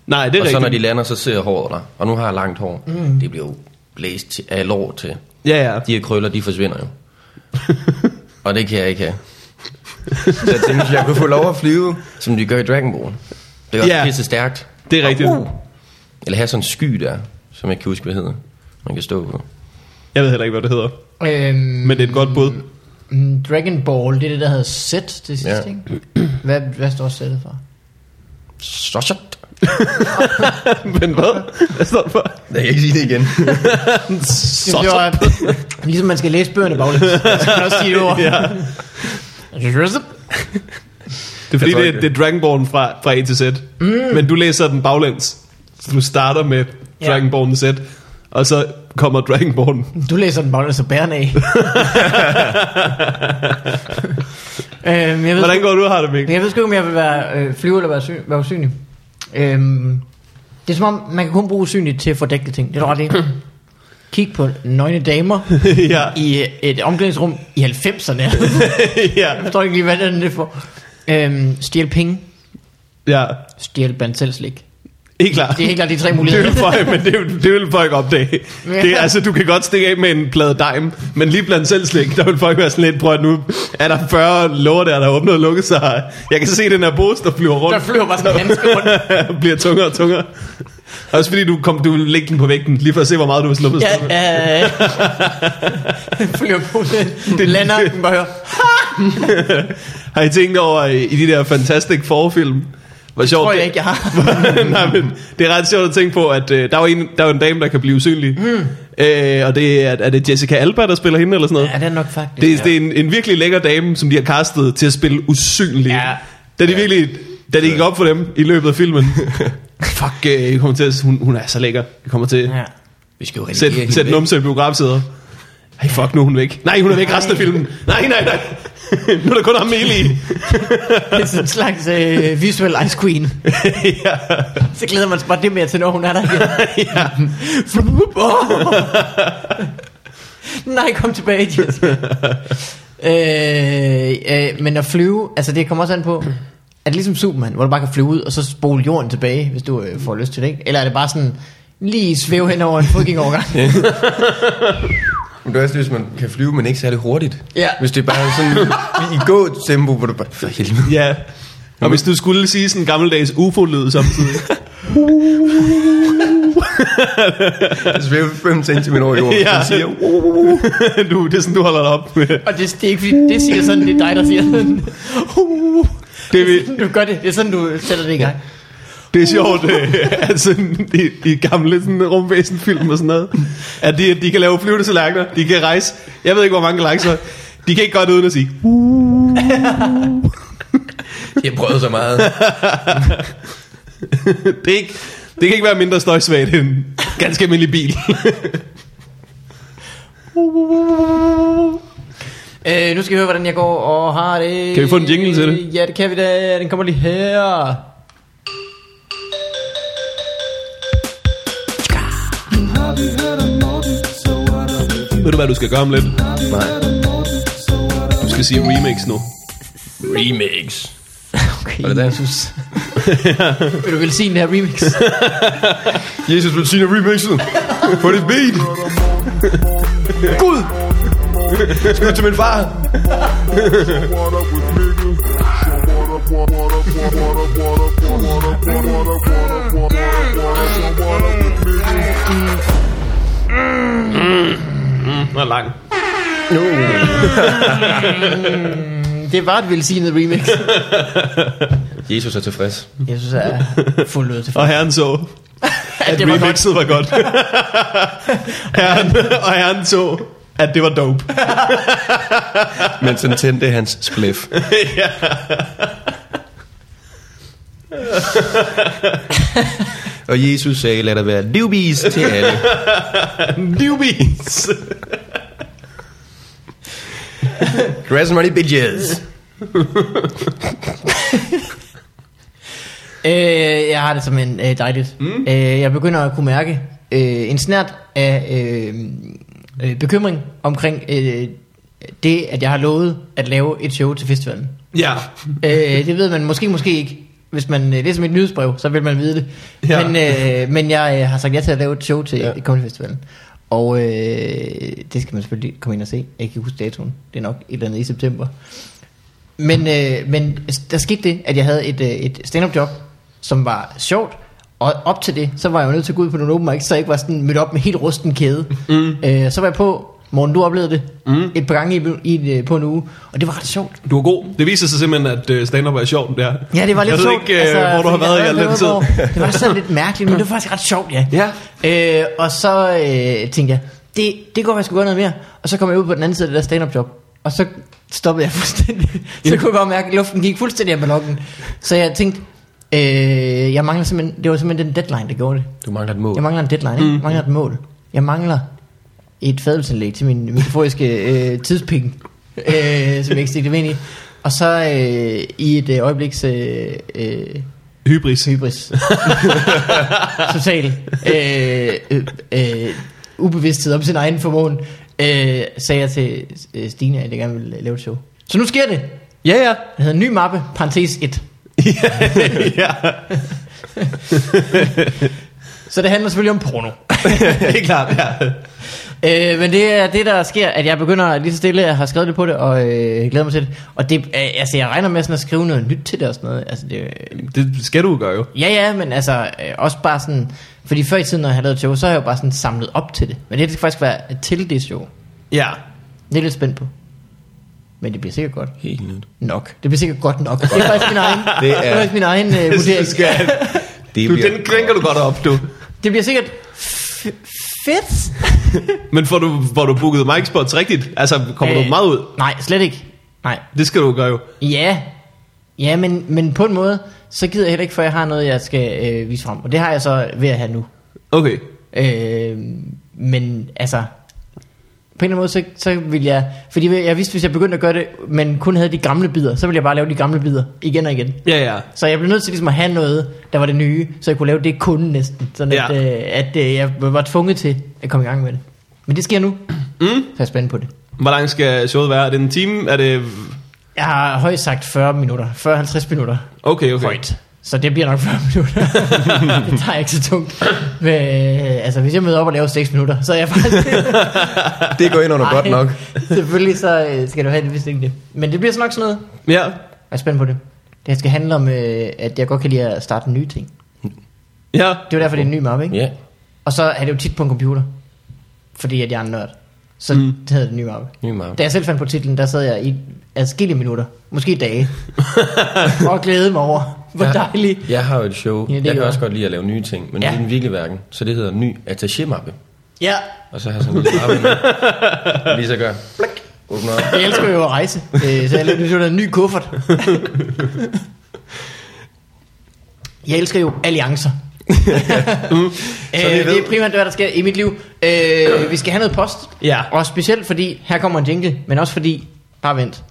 Nej, det er og så rigtigt. når de lander, så sidder håret der. Og nu har jeg langt hår. Mm. Det bliver jo blæst til, af lår til. Ja, ja. De her krøller, de forsvinder jo. og det kan jeg ikke have. Så jeg tænkte, hvis jeg kunne få lov at flyve, som de gør i Dragon Ball. Det er også Ja. pisse stærkt. Det er rigtigt. Uh. Eller have sådan en sky der, som jeg ikke kan huske, hvad hedder. Man kan stå på. Jeg ved heller ikke, hvad det hedder. Øhm, Men det er et godt bud. mm, Dragon Ball, det er det, der hedder Z til sidst, Ja. ja. ikke? Hvad, hvad står Z'et for? Så shot. Men hvad? Hvad står det for? Jeg kan ikke sige det igen. Så, det var, ligesom man skal læse bøgerne baglæns. Så skal man også sige det ord. Ja. Det er fordi, tror det, ikke er- det. det er Dragon Ball fra, fra A til Z. Mm. Men du læser den baglæns. Så du starter med Ja. Dragon Ball Z, og så kommer Dragon Ball. Du læser den baglæns og bærer den af. øhm, jeg ved, Hvordan går du og har det, Men Mikkel? jeg ved sgu ikke, om jeg vil være øh, flyve eller være, sy- være usynlig. Øhm, det er som om, man kan kun bruge usynligt til at fordække ting. Det er du ret i. Kig på nøgne damer ja. i øh, et omklædningsrum i 90'erne. jeg ja. forstår ikke lige, hvad det er, det er for. Øhm, stjæl penge. Ja. Stjæl blandt selv slik. Ikke klar. Det er helt klart de tre Det muligheder. vil folk, men det, vil- det vil folk opdage. Ja. Det, er- altså, du kan godt stikke af med en plade dime, men lige blandt selv slik, der vil folk være sådan lidt, prøv at nu er der 40 låger der, der åbner og lukker sig. Jeg kan se den her pose, der flyver rundt. Der flyver bare sådan en handske rundt. bliver tungere og tungere. Også fordi du, kom, du vil lægge den på vægten, lige for at se, hvor meget du har sluppet. Ja, ja, ja. flyver på det. Det lander, den bare hører. Har I tænkt over i, i de der Fantastic Four-film? Hvor sjovt Tror jeg det- ikke, jeg har. Nej, men det er ret sjovt at tænke på, at øh, der, er jo en, der er jo en dame, der kan blive usynlig. Mm. Øh, og det er, er det Jessica Alba, der spiller hende eller sådan noget? Ja, det er nok Det, faktisk. det er en, en virkelig lækker dame, som de har castet til at spille usynlig. Ja. Da de virkelig, da det gik op for dem i løbet af filmen. Fuck, øh, jeg kommer til at, hun, hun er så lækker. Jeg kommer til Ja. Vi skal jo Sæt, redigere sæt hende væk. numse i biografsæder. Ej, fuck, nu er hun væk. Nej, hun er væk resten af filmen. Nej, nej, nej. nu er der kun ham med i. Det er sådan en slags øh, visuel ice queen. ja. Så glæder man sig bare det mere til, når hun er der igen. ja. Flup, åh. Nej, kom tilbage, Jessica. øh, øh, men at flyve, altså det kommer også an på, er det ligesom Superman, hvor du bare kan flyve ud, og så spole jorden tilbage, hvis du øh, får lyst til det, ikke? Eller er det bare sådan, lige svæve hen over en fodgængovergang? Men det er også lidt, hvis man kan flyve, men ikke særlig hurtigt. Ja. Hvis det er bare sådan i gå tempo, hvor du bare... For helvede. ja. Og hvis du skulle sige sådan en gammeldags ufo-lyd samtidig. Jeg svæver 5 cm over jorden. Ja. Ja. siger, "Uh, du, det er sådan, du holder dig op med. og det, det, er ikke fordi, det siger sådan, det er dig, der siger sådan. Uh, Det er, vi- sådan, du gør det, det er sådan, du sætter det i gang. det er sjovt, øh, at sådan, i, i gamle sådan, rumvæsenfilm og sådan noget, at de, de kan lave flyvende tallerkener, de kan rejse, jeg ved ikke, hvor mange galakser, de kan ikke godt uden at sige, jeg prøvede så meget. det, er ikke, det kan ikke være mindre støjsvagt end en ganske almindelig bil. Øh, nu skal vi høre, hvordan jeg går og har det. Kan vi få en jingle til det? Ja, det kan vi da. Den kommer lige her. Ved du, hvad du skal gøre om lidt? Nej. Du skal sige remix nu. Remix. Okay, Var det det? Jesus. Vil du velsigne det her remix? Jesus vil sige remixet. For det beat. Gud. Skud til min far. Den er lang. Det var et velsignet remix. Jesus er tilfreds. Jeg synes, jeg er fuld ud til Og herren så, at det var godt. remixet var godt. herren, og herren så, at det var dope. Men sådan tændte hans spliff. Og Jesus sagde, lad der være livbis til alle. Newbies! Dress money bitches. Øh, jeg har det som en øh, dejligt. Mm. Øh, jeg begynder at kunne mærke øh, en snært af øh, øh, bekymring omkring øh, det, at jeg har lovet at lave et show til festivalen. ja. Øh, det ved man måske, måske ikke. Hvis man øh, læser mit nyhedsbrev, så vil man vide det. Ja. Ja. Men, øh, men jeg øh, har sagt ja til at lave et show til Ja. ja. Comedy Festivalen. Og øh, det skal man selvfølgelig komme ind og se. Jeg kan ikke huske datoen. Det er nok et eller andet i september. Men, øh, men der skete det, at jeg havde et, øh, et stand-up job, som var sjovt, og op til det, så var jeg jo nødt til at gå ud på nogle open mic, så jeg ikke var sådan mødt op med helt rusten kæde. Mm. Øh, så var jeg på, Morten, du oplevede det mm. et par gange i, i, øh, på en uge, og det var ret sjovt. Du er god. Det viser sig simpelthen, at øh, stand-up er sjovt, der. Ja, det var lidt jeg ved sjovt. ikke, altså, hvor du har fordi været i jeg al havde den tid. været hvor- Det var sådan lidt mærkeligt, men det var faktisk ret sjovt, ja. Ja. Øh, og så øh, tænkte jeg, det, det går, jeg skulle gøre noget mere. Og så kom jeg ud på den anden side af det der stand-up job. Og så stoppede jeg fuldstændig. Så kunne jeg godt mærke, at luften gik fuldstændig af ballonen. Så jeg tænkte, øh, jeg mangler simpelthen, det var simpelthen den deadline, der gjorde det. Du mangler et mål. Jeg mangler en deadline, Mm. ikke? jeg mangler et mål. Jeg mangler et fadelsindlæg til min metaforiske øh, tidspenge, øh, som jeg ikke stikte mig ind i. Og så øh, i et øh, øjebliks øh, øh, Hybris. hybris. Total. Øh, øh, øh, ubevidsthed om sin egen formåen. Øh, sagde jeg til øh, Stine, at jeg gerne ville lave et show. Så nu sker det. Ja, ja. Jeg hedder en ny mappe, parentes 1. ja. Så det handler selvfølgelig om porno. Helt klart, ja. Øh, men det er det, der sker, at jeg begynder lige så stille, jeg har skrevet det på det, og øh, glæder mig til det. Og det, øh, altså, jeg regner med sådan at skrive noget nyt til det og sådan noget. Altså, det, øh, Det skal du gøre jo. ja, ja, men altså, øh, også bare sådan, fordi før i tiden, når jeg har lavet et show, så har jeg jo bare sådan samlet op til det. Men det skal faktisk være til det show. Ja. Det er jeg lidt spændt på. Men det bliver sikkert godt. Helt nyt. Nok. Det bliver sikkert godt nok. Det er faktisk min egen, Det det er- er, det er faktisk min egen øh, vurdering. Det Du, den krænker du godt op, du. Det bliver sikkert f- fedt. Men får du, får du booket mic spots rigtigt? Altså, kommer øh. du Øh, meget ud? Nej, slet ikke. Nej, Det skal du gøre jo. Ja, ja men, men på en måde, så gider jeg heller ikke, for jeg har noget, jeg skal øh, vise frem. Og det har jeg så ved at have nu. Okay. Øh, men altså, på en eller anden måde, så, så vil jeg... Fordi jeg vidste, hvis jeg begyndte at gøre det, men kun havde de gamle bidder, så ville jeg bare lave de gamle bidder igen og igen. Ja, ja. Så jeg blev nødt til ligesom at have noget, der var det nye, så jeg kunne lave det kun næsten. Sådan at, Ja. øh, at øh, jeg var tvunget til at komme i gang med det. Men det sker nu, Mm. så jeg er spændt på det. Hvor lang skal showet være? Er det en time? Er det... Jeg har højst sagt 40 minutter, 40-50 minutter. Okay, okay. Højt. Så det bliver nok 40 minutter. det tager jeg ikke så tungt. Men, øh, altså, hvis jeg møder op og laver 6 minutter, så er jeg faktisk... Det går ind under godt nok. Selvfølgelig så øh, skal du have det, hvis ikke det. Men det bliver så nok sådan noget. Ja. Jeg er spændt på det. Det skal handle om, øh, at jeg godt kan lide at starte nye ting. Ja. Det er jo derfor, det er en ny mappe, ikke? Ja. Og så er det jo tit på en computer. Fordi at jeg er en nørd. Så Mm. mm. det hedder det en ny mappe. Ny mappe. Da jeg selv fandt på titlen, der sad jeg i adskillige minutter. Måske dage. og glædede mig over, hvor Ja. dejlig Jeg har jo et show. Ja, Ja, det jeg kan gør også jeg. godt lide at lave nye ting, men ja. Ja. det er en virkelig verden. Så det hedder ny attaché-mappe. Ja, Og så har jeg sådan en lille mappe med. Lige så gør. Blik. Åbner op. jeg elsker jo at rejse, øh, så jeg lavede sådan en ny kuffert. Jeg elsker jo alliancer. øh, Mm. vi ved. det er primært, hvad der sker i mit liv. Øh, vi skal have noget post. Ja. Og specielt fordi, her kommer en jingle, men også fordi, bare vent.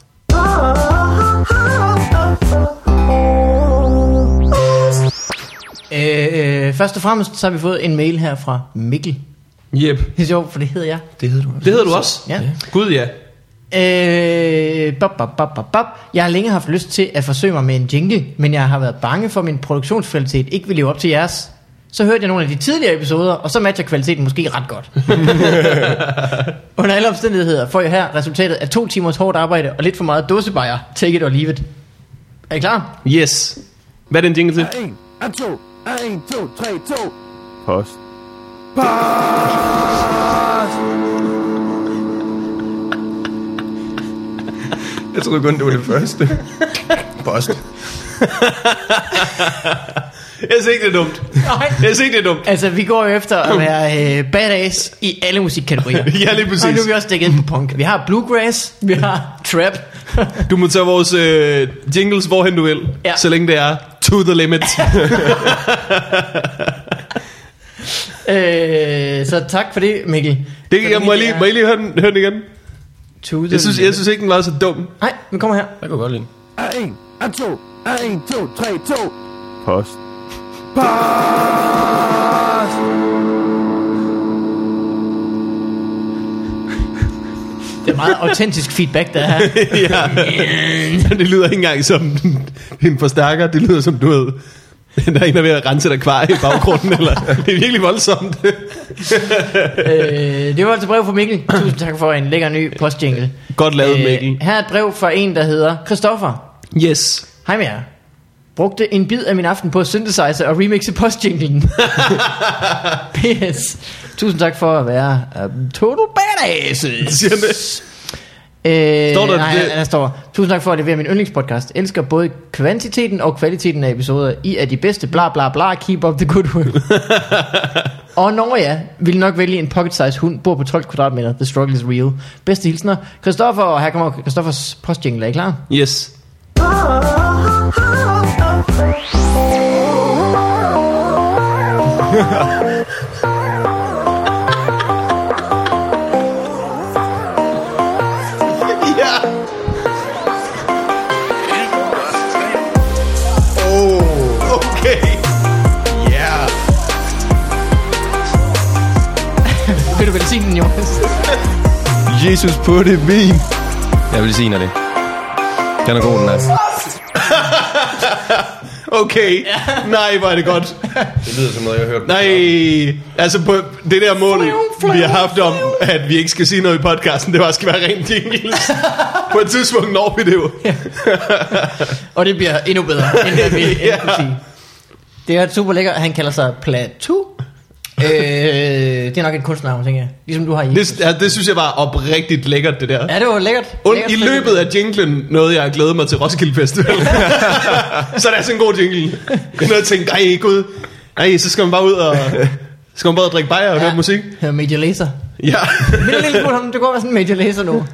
Øh, øh, først og fremmest, så har vi fået en mail her fra Mikkel. Yep. Det er sjovt, for det hedder jeg. Det hedder du også. Det hedder du også? Ja. Gud, ja. Øh, bop, bop, bop, bop, bop. Jeg har længe haft lyst til at forsøge mig med en jingle, men jeg har været bange for, at min produktionskvalitet ikke vil leve op til jeres. Så hørte jeg nogle af de tidligere episoder, og så matcher kvaliteten måske ret godt. Under alle omstændigheder får jeg her resultatet af to timers hårdt arbejde og lidt for meget dåsebajer. Take it or leave it. Er I klar? Yes. Hvad er den jingle til? En, en, to, en, to, tre, to. Post. Jeg troede kun, det var det første. Post. Jeg synes ikke, det er dumt. Nej. Jeg synes ikke, det er dumt. Altså, vi går jo efter at være øh, badass i alle musikkategorier. Ja, lige præcis. Og nu er vi også dækket ind på punk. Vi har bluegrass, vi har trap. Du må tage vores øh, jingles, hvorhen du vil. Ja. Så længe det er to the limit. øh, så tak for det, Mikkel. Det kan Så jeg, må jeg er lige, må jeg lige høre, den, høre den igen? to the Jeg synes, jeg limit. synes ikke, den var så dum. Nej, den kommer her. Jeg kunne godt lide. En, en, to, en, to, tre, to. Post. Det er meget autentisk feedback, der er her. ja. Det lyder ikke engang som en forstærker. Det lyder som, du ved, der er en, der er ved at rense et akvarie i baggrunden. eller, det er virkelig voldsomt. øh, det var altså brev fra Mikkel. Tusind tak for en lækker ny postjingle. Øh, Godt lavet, Mikkel. her er et brev fra en, der hedder Christoffer. Yes. Hej med jer. Brugte en bid af min aften på at synthesize og remixe postjinglen. P.S. Tusind tak for at være um, total badasses. Siger han det? Øh, Står der nej, det? Der, der står, tusind tak for at levere min yndlingspodcast. Elsker både kvantiteten og kvaliteten af episoder. I er de bedste, bla bla bla, keep up the good work. og når jeg vil nok vælge en pocket size hund, bor på 12 kvadratmeter. The struggle is real. Bedste hilsner, Christoffer, og her kommer Christoffers postjingle, er I klar? Yes. Oh, okay. Yeah. Nu kan du velsigne den, Jonas. Jesus på det vin. Jeg vil sige det. Den er god, den er. Okay. Nej, hvor er det godt. Det lyder som noget, jeg har hørt. Nej, altså på det der mål, vi har haft om, at vi ikke skal sige noget i podcasten, det bare skal være rent jingles. på et tidspunkt når vi det jo. Og det bliver endnu bedre, end hvad vi end kunne sige. Det er super lækkert. Han kalder sig Platou. øh, det er nok et kunstnavn, tænker jeg. Ligesom du har i. Det, altså, det synes jeg var oprigtigt lækkert, det der. Ja, det var lækkert. Und, Lækkert I spillet. løbet af jinglen noget, jeg har glædet mig til Roskilde Festival. så det er sådan en god jingle. Jeg nåede at tænke, ej gud, ej, så skal man bare ud og... Så skal man bare ud og drikke bajer og høre musik. Hør Major Lazer. Ja. Men en lille smule, om det går være sådan en Major Lazer nu.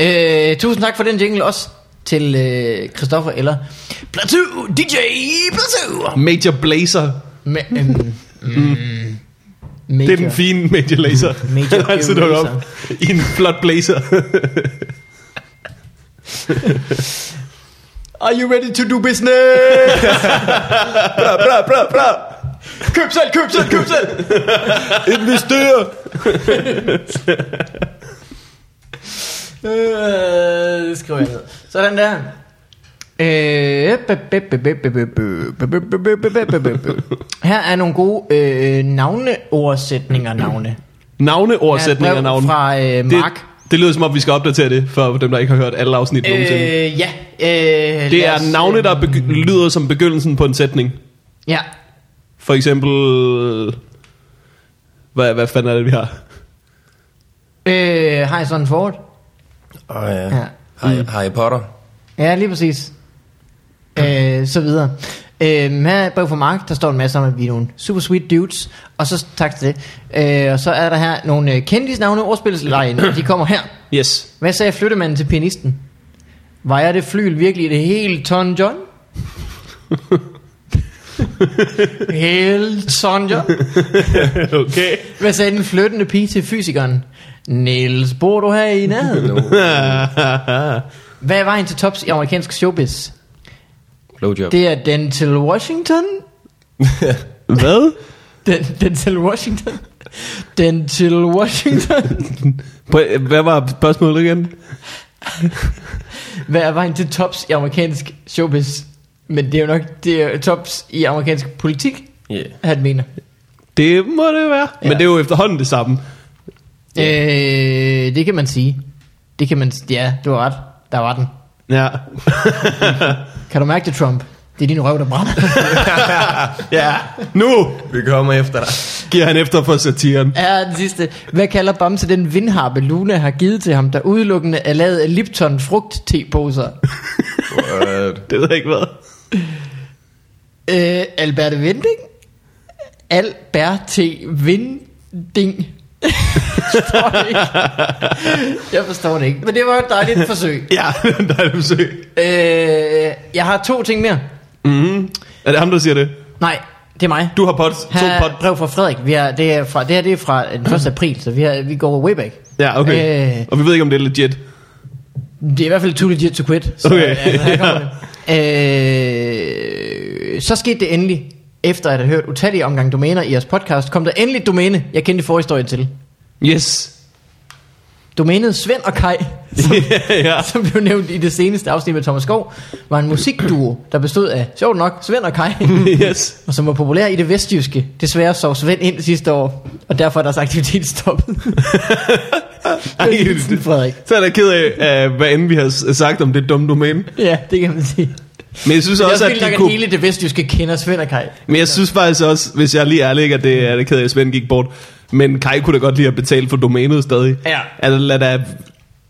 Øh, tusind tak for den jingle også til øh, Christoffer eller Platou, DJ Platou. Major Blazer. Ma- øhm, mm, major. Det er den fine Major Lazer. Major Han altid dukker op i en flot blazer. Are you ready to do business? Bra, bra, bra, bra. køb selv, køb selv, køb selv. Investere. øh, det skriver jeg ned. Sådan der. Øh, bø- bø- bø- bø- bø- bø- bø- bø- bø- bø- bø- bø- bø- bø- bø. Her er nogle gode øh, navneordsætninger navne. Navneordsætning Ja, af et brev navn. fra, øh, Mark. Det, det lyder som om, vi skal opdatere det, for dem, der ikke har hørt alle afsnit øh, nogensinde. Øh, ja. Øh, Det lad os, er navne, der begy- lyder som begyndelsen på en sætning. Ja. For eksempel... Hvad, hvad fanden er det, vi har? Øh, Harrison Ford. Åh, ja. Ja. øh, Harry, Harry Potter. Ja, lige præcis. Øh, så videre. Øh, her er et brev fra Mark, der står en masse om, at vi er nogle super sweet dudes. Og så tak til det. Øh, og så er der her nogle øh, kendisnavne ordspilleslejen, og de kommer her. Yes. Hvad sagde flyttemanden til pianisten? Vejer det flyl virkelig det hele ton John? Helt ton John? Okay. Hvad sagde den flyttende pige til fysikeren? Niels, bor du her i nærheden? No. Hvad er vejen til tops i amerikansk showbiz? Blowjob. Det er Denzel Washington. hvad? Den, Denzel Washington. Denzel Washington. Prøv- Hvad var spørgsmålet igen? Hvad er vejen til tops i amerikansk showbiz? Men det er jo nok det er tops i amerikansk politik, Yeah. han mener. Det må det være. Ja. Men det er jo efterhånden det samme. Øh, det kan man sige. Det kan man... Ja, du har ret. Der var den. Ja. Kan du mærke det, Trump? Det er din røv, der brænder. ja. Nu Vi kommer efter dig. giver han efter for satiren. Ja, den sidste. Hvad kalder Bamse den vindharpe, Luna har givet til ham, der udelukkende er lavet af Lipton frugt teposer? What? Det ved jeg ikke hvad. Øh, Albert Vinding? Albert T. Vinding. Forstår det ikke. jeg forstår det ikke. Men det var et dejligt forsøg. Ja, der er det besøg. Øh, jeg har to ting mere. Mm. Er det ham, der siger det? Nej, det er mig. Du har pot, to Her er et pot. brev fra Frederik. Vi har, det, er fra, det her det er fra øh, den 1. april, så vi, har, vi går way back. Ja, okay. Øh. Og vi ved ikke, om det er legit. Det er i hvert fald too legit to quit. Så, Okay. altså, her kommer det. Øh, så skete det endelig. Efter at have hørt utallige omgang domæner i jeres podcast, kom der endelig et domæne, jeg kendte forhistorien til. Yes. Domænet Svend og Kai, ja. som blev nævnt i det seneste afsnit med Thomas Skov, var en musikduo, der bestod af, sjovt nok, Svend og Kai, Yes. og som var populær i det vestjyske. Desværre sov Svend ind sidste år, og derfor er deres aktivitet stoppet. Ej, Hilsen, det, Frederik. så er jeg da ked af, af, hvad end vi har s- sagt om det dumme domæne. Ja, det kan man sige. Men jeg synes Det er også, også at vildt nok, de at kunne... hele det vestjyske kender Svend og Kai. Men jeg synes faktisk også, hvis jeg er lige ærlig, ikke, at det er det ked af, at Svend gik bort. Men Kai kunne da godt lide at betale for domænet stadig. Ja. Altså, lad da,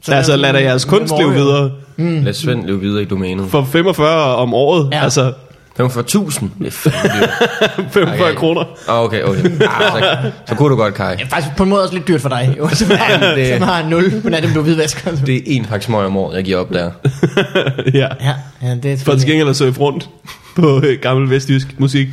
Så altså, lad lad da dem- jeres kunst dem leve overleve. videre Mm. Lad Svend løbe videre i domænet. for 45 om året. Ja. Ja. Altså, Hvem for 1000? Det er fandme dyrt. 45 Ej, ej. kroner. Ah, okay, okay. Ah, så, så kunne du godt, Kai. Ja, faktisk på en måde også lidt dyrt for dig, jo. Som Ja, har, det- som har 0, men er dem, du hvidvasker. Det er en pakke smøg om året, jeg giver op der. ja. Ja, ja, det er For til selvfølgelig gengæld at surfe rundt på øh, gammel vestjysk musik.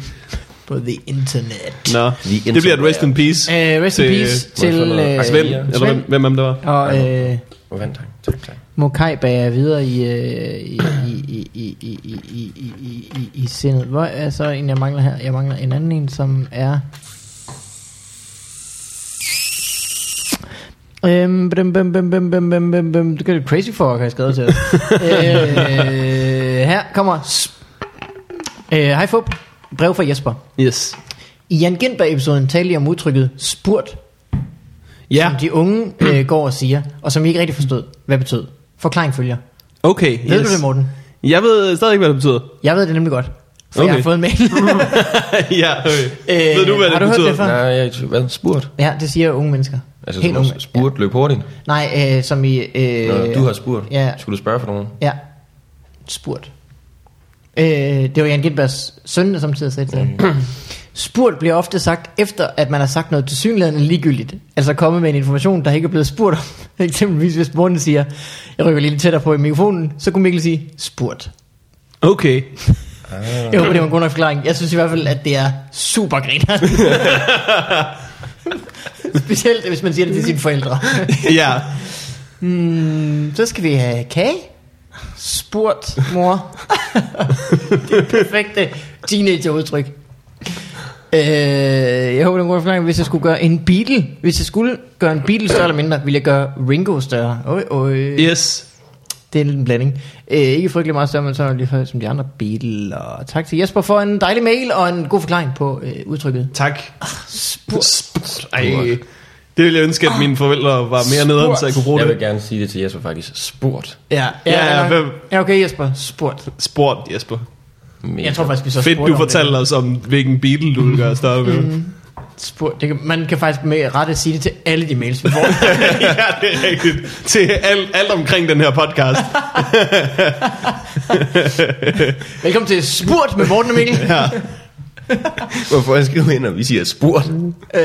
på the internet. Nå, The det bliver et rest in peace. Uh, rest in Til- øh, peace til noget? uh, Svend, ja. eller hvem, hvem end det var. og øh, Oh, vent, tak, tak, tak. må Kai bære videre i, øh, i, i, i, i, i, i, i, i, i, i sindet. Hvor er så en, jeg mangler her? Jeg mangler en anden en, som er... Øhm, bim, bim, bim, bim, bim, bim, bim, bim. Det gør det crazy for, har jeg skrevet til os. øh, her kommer... s- Øh, Hej Fup, brev fra Jesper. Yes. I Jan Gindberg-episoden talte jeg om udtrykket spurt Ja, som de unge øh, går og siger, og som I ikke rigtig forstod, hvad betød. Forklaring følger. okay. Ved yes. du det, Morten? Jeg ved stadig ikke, hvad det betyder. Jeg ved det nemlig godt, for okay. jeg Okay. har fået en mail. ja, okay. Øh, ved du, hvad har det du hørt betyder? det før? Nej, jeg er i tvivl. hvad? Spurt? ja, det siger unge mennesker. Altså, Helt Helt unge. du spurt, løb hurtigt. Nej, øh, som i... Øh, Nå, du har spurt. ja. Skulle du spørge for nogen? Ja, spurt. Øh, det var Jan Gindbergs søn, der samtidig sagde det. til Mm. ham. Spurgt bliver ofte sagt, efter at man har sagt noget tilsyneladende ligegyldigt. Altså kommet med en information, der ikke er blevet spurgt om. Eksempelvis hvis Morten siger, jeg rykker lige lidt tættere på i mikrofonen, så kunne Mikkel sige, spurgt. Okay. Jeg håber, det var en god nok forklaring. Jeg synes i hvert fald, at det er super griner. Specielt, hvis man siger det til sine forældre. ja. Mm, så skal vi have kage. Spurgt, mor. det er det perfekte teenagerudtryk. Øh, jeg håber, det er en god forklaring. Hvis jeg skulle gøre en Beatle, hvis jeg skulle gøre en Beatle større eller mindre, ville jeg gøre Ringo større. Oj, oj. Yes. Det er en lille blanding. Øh, ikke frygtelig meget større, men så er det lige før, som de andre Beatle. Og tak til Jesper for en dejlig mail og en god forklaring på øh, udtrykket. Tak. Spurgt. Ej. Det ville jeg ønske, at mine forældre var mere nederen, så jeg kunne bruge Jeg det. vil gerne sige det til Jesper faktisk. Spurt. Ja, Ja, ja, ja, hvem- ja, okay Jesper, spurgt. Sport, Jesper. Mega. Jeg tror faktisk, vi så Fedt, spurgte du om det. Mm. fortalte os om, hvilken Beatle du ville gøre større med. Spurgt. Det kan, man kan faktisk med rette sige det til alle de mails, vi får. ja, det er rigtigt. Til alt, alt omkring den her podcast. Velkommen til Spurt med Morten og Mikkel. Hvorfor jeg skriver ind, og vi siger spurt? øh,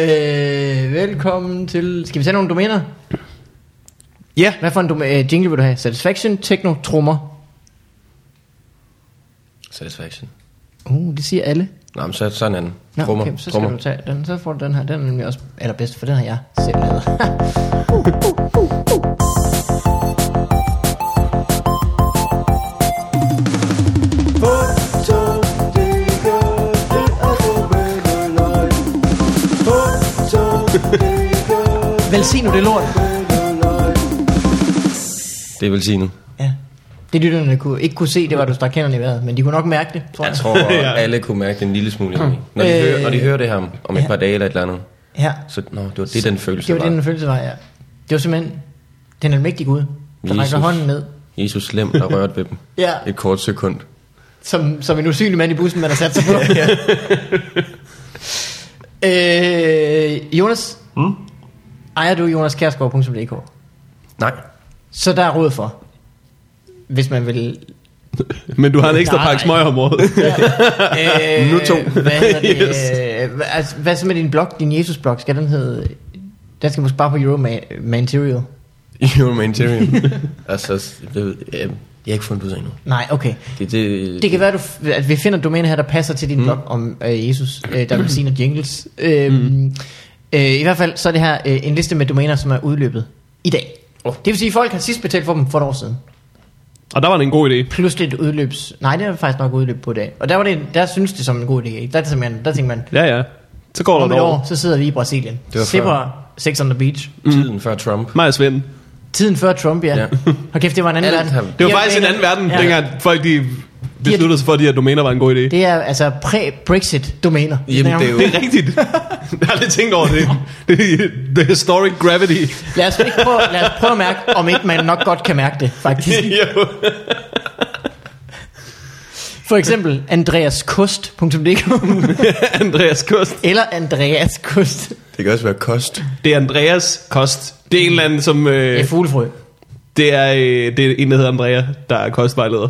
velkommen til... Skal vi tage nogle domæner? Ja. Hvad for en domæ- øh, jingle vil du have? Satisfaction, techno, trommer. Satisfaction. Uh, det siger alle. Nå, men så, så en anden. Nå, Trummer. okay, så skal Trummer. du tage den. Så får du den her. Den er nemlig også allerbedst, for den har jeg selv lavet. Velsign nu det lort. Det vil sige nu. Ja. Det lytterne kunne, ikke kunne se, det var, at du stak hænderne i vejret, men de kunne nok mærke det, tror jeg. Jeg tror, at alle kunne mærke det en lille smule. ironi. Når de, Øh. hører, når de hører det her om- om et par dage eller et eller andet, Ja. så nå, det var det, den følelse Det var det, var. den følelse var, ja. Det var simpelthen den almægtige Gud, der rækker Jesus. hånden ned. Jesus slem, der rørte ved dem. Ja. Et kort sekund. Som, som en usynlig mand i bussen, man har sat sig på. øh, Jonas, hmm? ejer du jonaskjærsgaard.dk? Nej. Så der er råd for, hvis man vil... Men du har en ekstra Nej. pakke smøg om året. Øh, Nu to. Hvad, hedder det? Yes. Øh, hva- altså, hvad så med din blog, din Jesus-blog? Skal den hedde... Den skal måske bare på Euromanterial. Humanitarian. altså, det, ved- øh, jeg har ikke fundet ud af endnu. Nej, okay. Det, det, Det kan være, du f- at vi finder et domæne her, der passer til din mm. blog om øh, Jesus, øh, der vil sige noget jingles. Øhm, mm. øh, I hvert fald så er det her øh, en liste med domæner, som er udløbet i dag. Oh. Det vil sige, at folk har sidst betalt for dem for et år siden. Og der var det en god idé. Plus det er et udløbs... Nej, det er faktisk nok udløb på i dag. Og der, var det, der synes det som en god idé. ikke? Der, er det simpelthen- der tænker man, Ja, ja. Så går der om et et år. år, så sidder vi i Brasilien. Det var før. Sipper Sex on the Beach. tiden før Trump. Mig og Svend. Tiden før Trump, ja. Ja. ja. Og kæft, det var en anden Alt verden. har- Det var De her faktisk en anden planer- verden, ja. dengang folk de besluttede sig for, at de her domæner var en god idé. Det, Det er altså præ-Brexit-domæner. vi Jamen, snakker om. det er jo... det er rigtigt. Jeg har aldrig tænkt over det. Det er the historic gravity. Lad os, ikke prøve, lad os prøve at mærke, om ikke man nok godt kan mærke det, faktisk. jo. For eksempel andreaskost.dk Andreas Kost. eller Andreas Kost. Det kan også være kost. Det er Andreas Kost. Det er en eller anden, som... Det er Øh, fuglefrø. det, er, øh, det er en, der hedder Andrea, der er kostvejleder.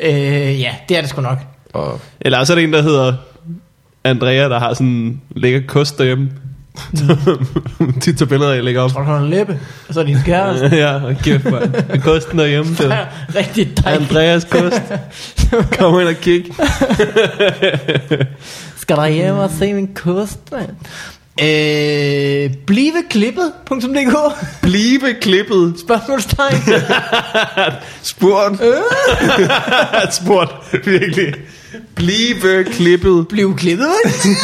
Øh, ja, det er det sgu nok. Og Eller også er det en, der hedder Andrea, der har sådan en lækker kost derhjemme. Som tit tager billeder af, jeg lægger op. Tror du, hun har en læbe? Og så er din kæreste. ja, og kæft, man. Kosten derhjemme. Det. Ja, Rigtig dejligt. Andreas Kost. Kom ind og kig. Skal der hjem og se min kost, mand? Øh, bliveklippet.dk Blive klippet. Spørgsmålstegn. Spurgt. Øh. Spurgt, virkelig. Blive klippet. Bliv klippet, ikke?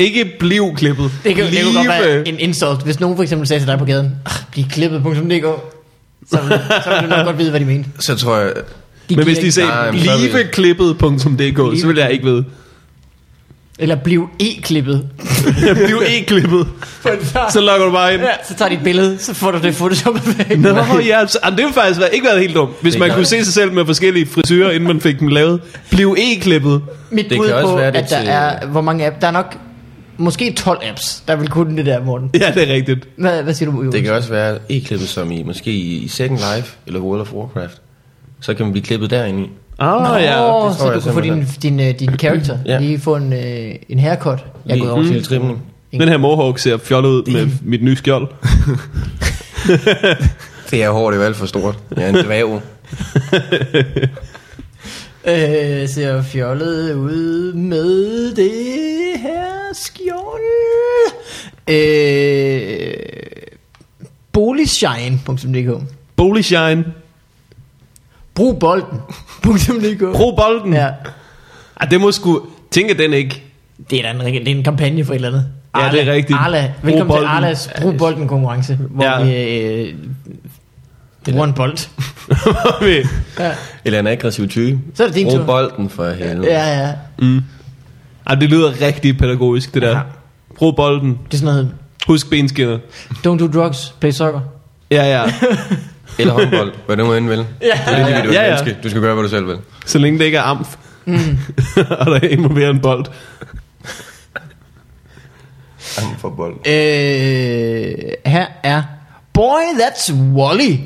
Ikke bliv klippet. Det kan, det kan godt Blive. være en insult, hvis nogen for eksempel sagde til dig på gaden, "Ah, bliv klippet.dk, så, vil- så vil du nok godt vide, hvad de mente. så tror jeg... De Men giver hvis de ikke- sagde Nej, men så er vi- bliveklippet.dk, så vil jeg ikke vide. Eller bliv e-klippet. Bliv e-klippet. Så logger du bare ind. Ja, så tager de et billede, så får du det photoshoppet væk. Nå, ja, så, ah, det ville faktisk være, ikke været helt dumt, hvis Det man kan- kunne se sig selv med forskellige frisyrer, inden man fik dem lavet. Bliv e-klippet. Mit Det bud kan også på, være, det at der til- er, hvor mange apps, der er nok måske 12 apps, der vil kunne det der, Morten. Ja, det er rigtigt. Hvad, hvad siger du, Jonas? Det kan også være e-klippet som i, måske i, i Second Life eller World of Warcraft. Så kan man blive klippet derinde i. Ah, Nå, ja. ja, det tror så du jeg kan få din, din, øh, din character ja. Ja. Mhm. lige få en, øh, en haircut. Jeg er Lige gået over en lille til trimning. Den her mohawk ser fjollet ud med mit nye skjold. Det er hårdt, det er jo alt for stort. Jeg er en dværg. øh, ser fjollet ud med det her skjold. Øh, boligshine.dk Boligshine. Brug bolden. .dk Brug bolden. Ja, Ah, det må sgu... Tænker den ikke. det er da en, rigtig- det er en kampagne for et eller andet. Ja, det er rigtigt. Arla. Brug Velkommen til bolden. Arlas Brug Bolden konkurrence, hvor Ja. ja. vi øh, bruger en bold. Ja. Eller en aggressiv type. Så er det din Brug tur. bolden for helvede. ja, ja. ah, det lyder rigtig pædagogisk, det der. Ja. Brug bolden. Det er sådan noget, Husk benskinner. don't do drugs, play soccer. Ja, ja. Eller håndbold, hvad du nu end vil. Ja. Det er individuelt Ja, ja, ja. ja. menneske. Du skal gøre, hvad du selv vil. Så længe det ikke er amf. Mm. og der er involveret en bold. Jamen for bold. Øh, her er Boy, that's Wally.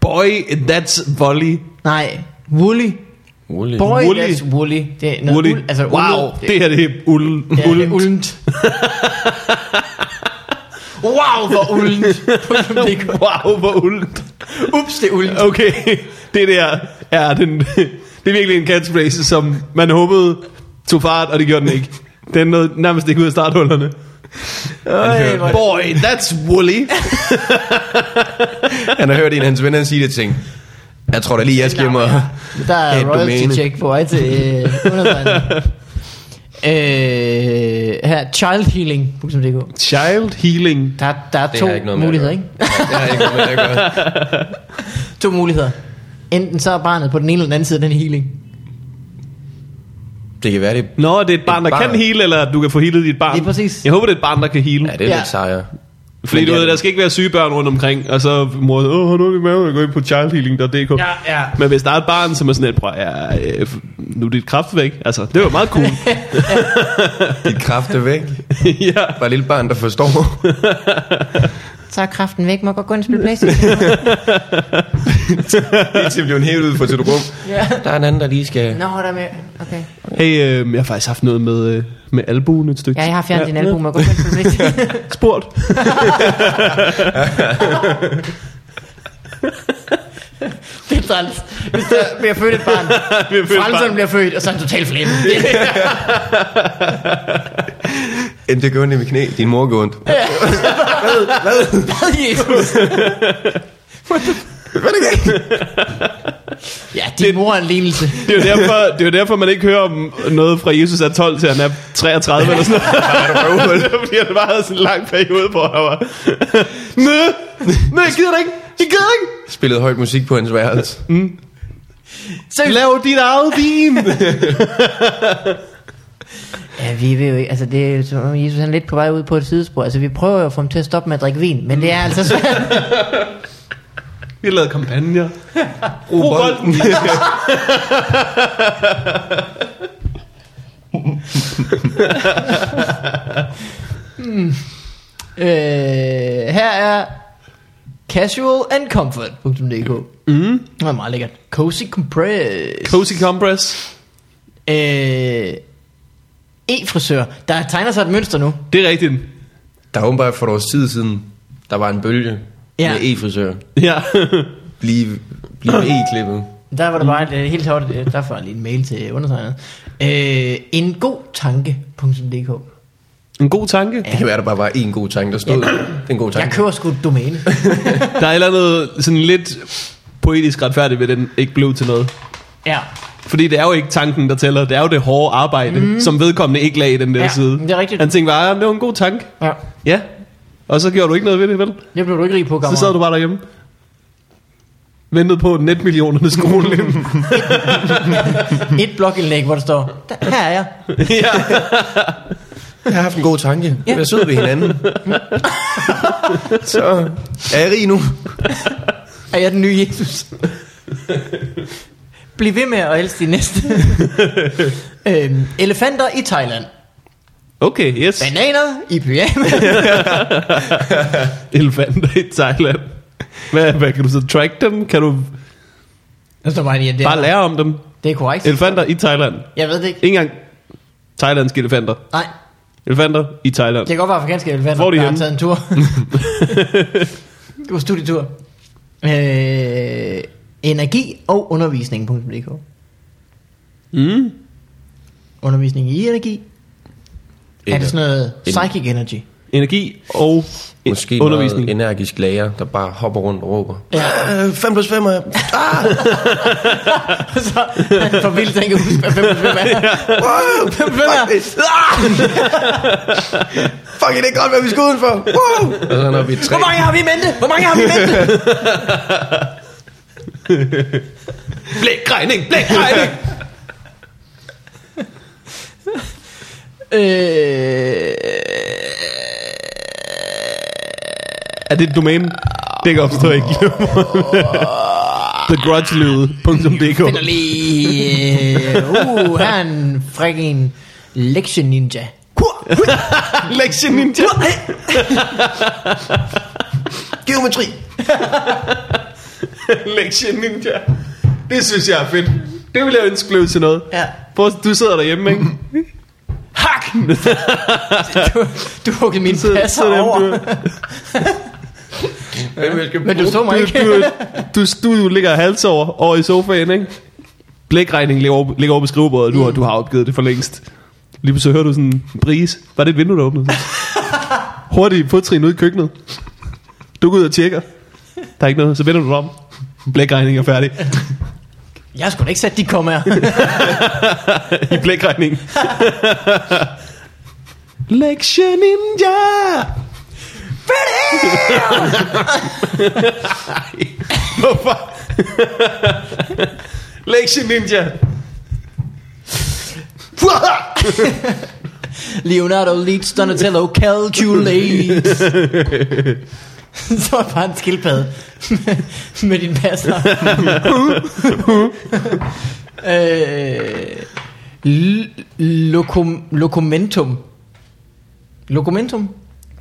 Boy, that's volley. Nej, Wooly. Rolig. Boy, Wooly. that's Wooly. Det er noget Woody. uld, altså wow, uldet. det her det er uld. Ja, det er uld. uldent. wow, hvor uldent. wow, hvor uldt. Ups, det er uldent. Okay, det der er den... Det er virkelig en catchphrase, som man håbede tog fart, og det gjorde den ikke. Den nåede nærmest ikke ud af starthullerne. Øj, hvor- Boy, that's woolly. Han har hørt en af hans venner sige det ting. Jeg tror da lige, jeg skal hjem og... Der er Et domæne. royalty check på vej til øh, undertegnet. øh, her, childhealing.dk Child healing. der, der er Det to har ikke noget med at muligheder, gøre. ikke? Det har ikke noget med at gøre. To muligheder. Enten så er barnet på den ene eller den anden side af den healing. Det kan være det. Nå, det er et barn, der barn. kan hele, eller du kan få healet dit barn. Lige præcis. Jeg håber, det er et barn, der kan hele. Ja, det er Ja. ja. lidt sejere. Fordi Men du ja, ved, der skal ikke være syge børn rundt omkring, og så mor, åh, har du ondt i maven, og gå ind på childhealing.dk. ja. Men hvis der er et barn, som er sådan et, prøv, ja, øh, nu er dit kraft væk. Altså, det var meget cool. Dit kraft er væk. ja. Bare et lille barn, der forstår. Så er kraften væk, må godt gå ind og spille Playstation. Indtil det bliver en helt ud for sit rum. ja. Der er en anden, der lige skal... Nå, der er med. Okay. Hey, øh, jeg har faktisk haft noget med, øh, med albuen et stykke. Ja, jeg har fjernet ja. din album, må godt gå ind og spille Playstation. Spurgt. det er træls. Hvis der bliver født et barn, Frelsen bliver født, og så er han totalt flemme. Jamen, det gør ondt i mit knæ. Din mor går ondt. Hvad, Jesus? Hvad er det galt? Ja, din det... mor er en lignelse. Det er, jo derfor, det er jo derfor, man ikke hører om noget fra Jesus er 12 til han er 33 eller sådan noget. det er fordi, han bare havde sådan en lang periode, hvor han var... Nø! Nø, jeg gider det ikke! Jeg gider det ikke! Spillede højt musik på hans værelse. Seriøst? Lav dit eget vin! Ja, vi ved jo ikke, altså det er jo som om Jesus han er lidt på vej ud på et sidespor. Altså vi prøver jo at få ham til at stoppe med at drikke vin, men det er altså svært. Vi har lavet kampagner. Brug bolden. øh, her er casualandcomfort.dk Mm. Det er meget lækkert. Cozy Compress. Cozy Compress. Øh, E-frisør. Der tegner sig et mønster nu. Det er rigtigt. Der er åbenbart for et års tid siden, der var en bølge Ja. ja. med e-frisør. Ja. Blive, blive med e-klippet. Der var der bare et, øh, helt hårdt, øh, der får jeg lige en mail til undertegnet. Øh, en god tanke.dk en god tanke. Det kan være, der bare var én god tanke, der stod. Det er en god tanke. Jeg køber sgu et domæne. Der er et eller andet sådan lidt poetisk retfærdigt ved, at den ikke blev til noget. ja. Fordi det er jo ikke tanken, der tæller. Det er jo det hårde arbejde, mm. som vedkommende ikke lagde i den der Ja, side. det er rigtigt. Han tænkte bare, "Ah, det var en god tanke. ja. Ja. Og så gjorde du ikke noget ved det, vel? Det blev du ikke rig på, Så sad gamle. du bare derhjemme. Ventede på at netmillionerne skulle rulle ind. Et blogindlæg, hvor der står, "Der- her er jeg. ja. Jeg har haft en god tanke. Ja. Vær sød ved hinanden. så er jeg rig nu. Er jeg den nye Jesus? Bliv ved med at elske de næste. øhm, elefanter i Thailand. Okay, yes. Bananer i pyjamas. Elefanter i Thailand. Hvad, hvad kan du så track dem? Kan du Der står bare lige, at det bare er, lære om dem? det er korrekt. Elefanter i Thailand. Jeg ved det ikke. Ikke engang thailandske elefanter. Nej, Elefanter i Thailand. det kan godt være afrikanske elefanter, Hvor er de der har henne? taget en tur. God studietur. Øh, energi og undervisning.dk Mm. Undervisning i energi. Er det sådan noget Ener- psychic energy? Energi og Måske undervisning. undervisning. Meget energisk lærer, der bare hopper rundt og råber. Ja. Øh, 5 plus 5 er... så for vildt, han kan huske, hvad hvem, hvem er. Hvem, hvem er? Fuck, det er godt, hvad vi skal udenfor. Wow! Og så er han oppe i et træ. Hvor mange har vi i mente? Hvor mange har vi i mente? Blækregning, blækregning. øh, er det et domæne? Det kan jeg forstå ikke. TheGrudgeLyd.dk finder lige... øh, Uh, her er en freaking Lection Ninja. Lection Ninja. Geometri! Lection Ninja. Det synes jeg er fedt. Det vil jeg ønske blev til noget. Ja. Prøv, at- du sidder derhjemme, ikke? Hak! Du, du huggede min Så- passer så dem, over. du- Men du så mig Du, ikke. du, du, du, du ligger hals over, over i sofaen, ikke? Blækregningen ligger over, ligger over på skrivebordet, du, mm. du har opgivet det for længst. Lige så hører du sådan en bris. Var det et vindue, der åbnede? Hurtigt fodtrin ud i køkkenet. Du går ud og tjekker. Der er ikke noget, så vender du dig om. Blækregningen er færdig. Jeg skulle da ikke sætte de kommer I blækregningen. Lection Ninja! Hvorfor? Lection Ninja! Leonardo leads Donatello calculates. så er bare en skildpadde med din passer. øh, l- lokum, lokumentum. Lokumentum?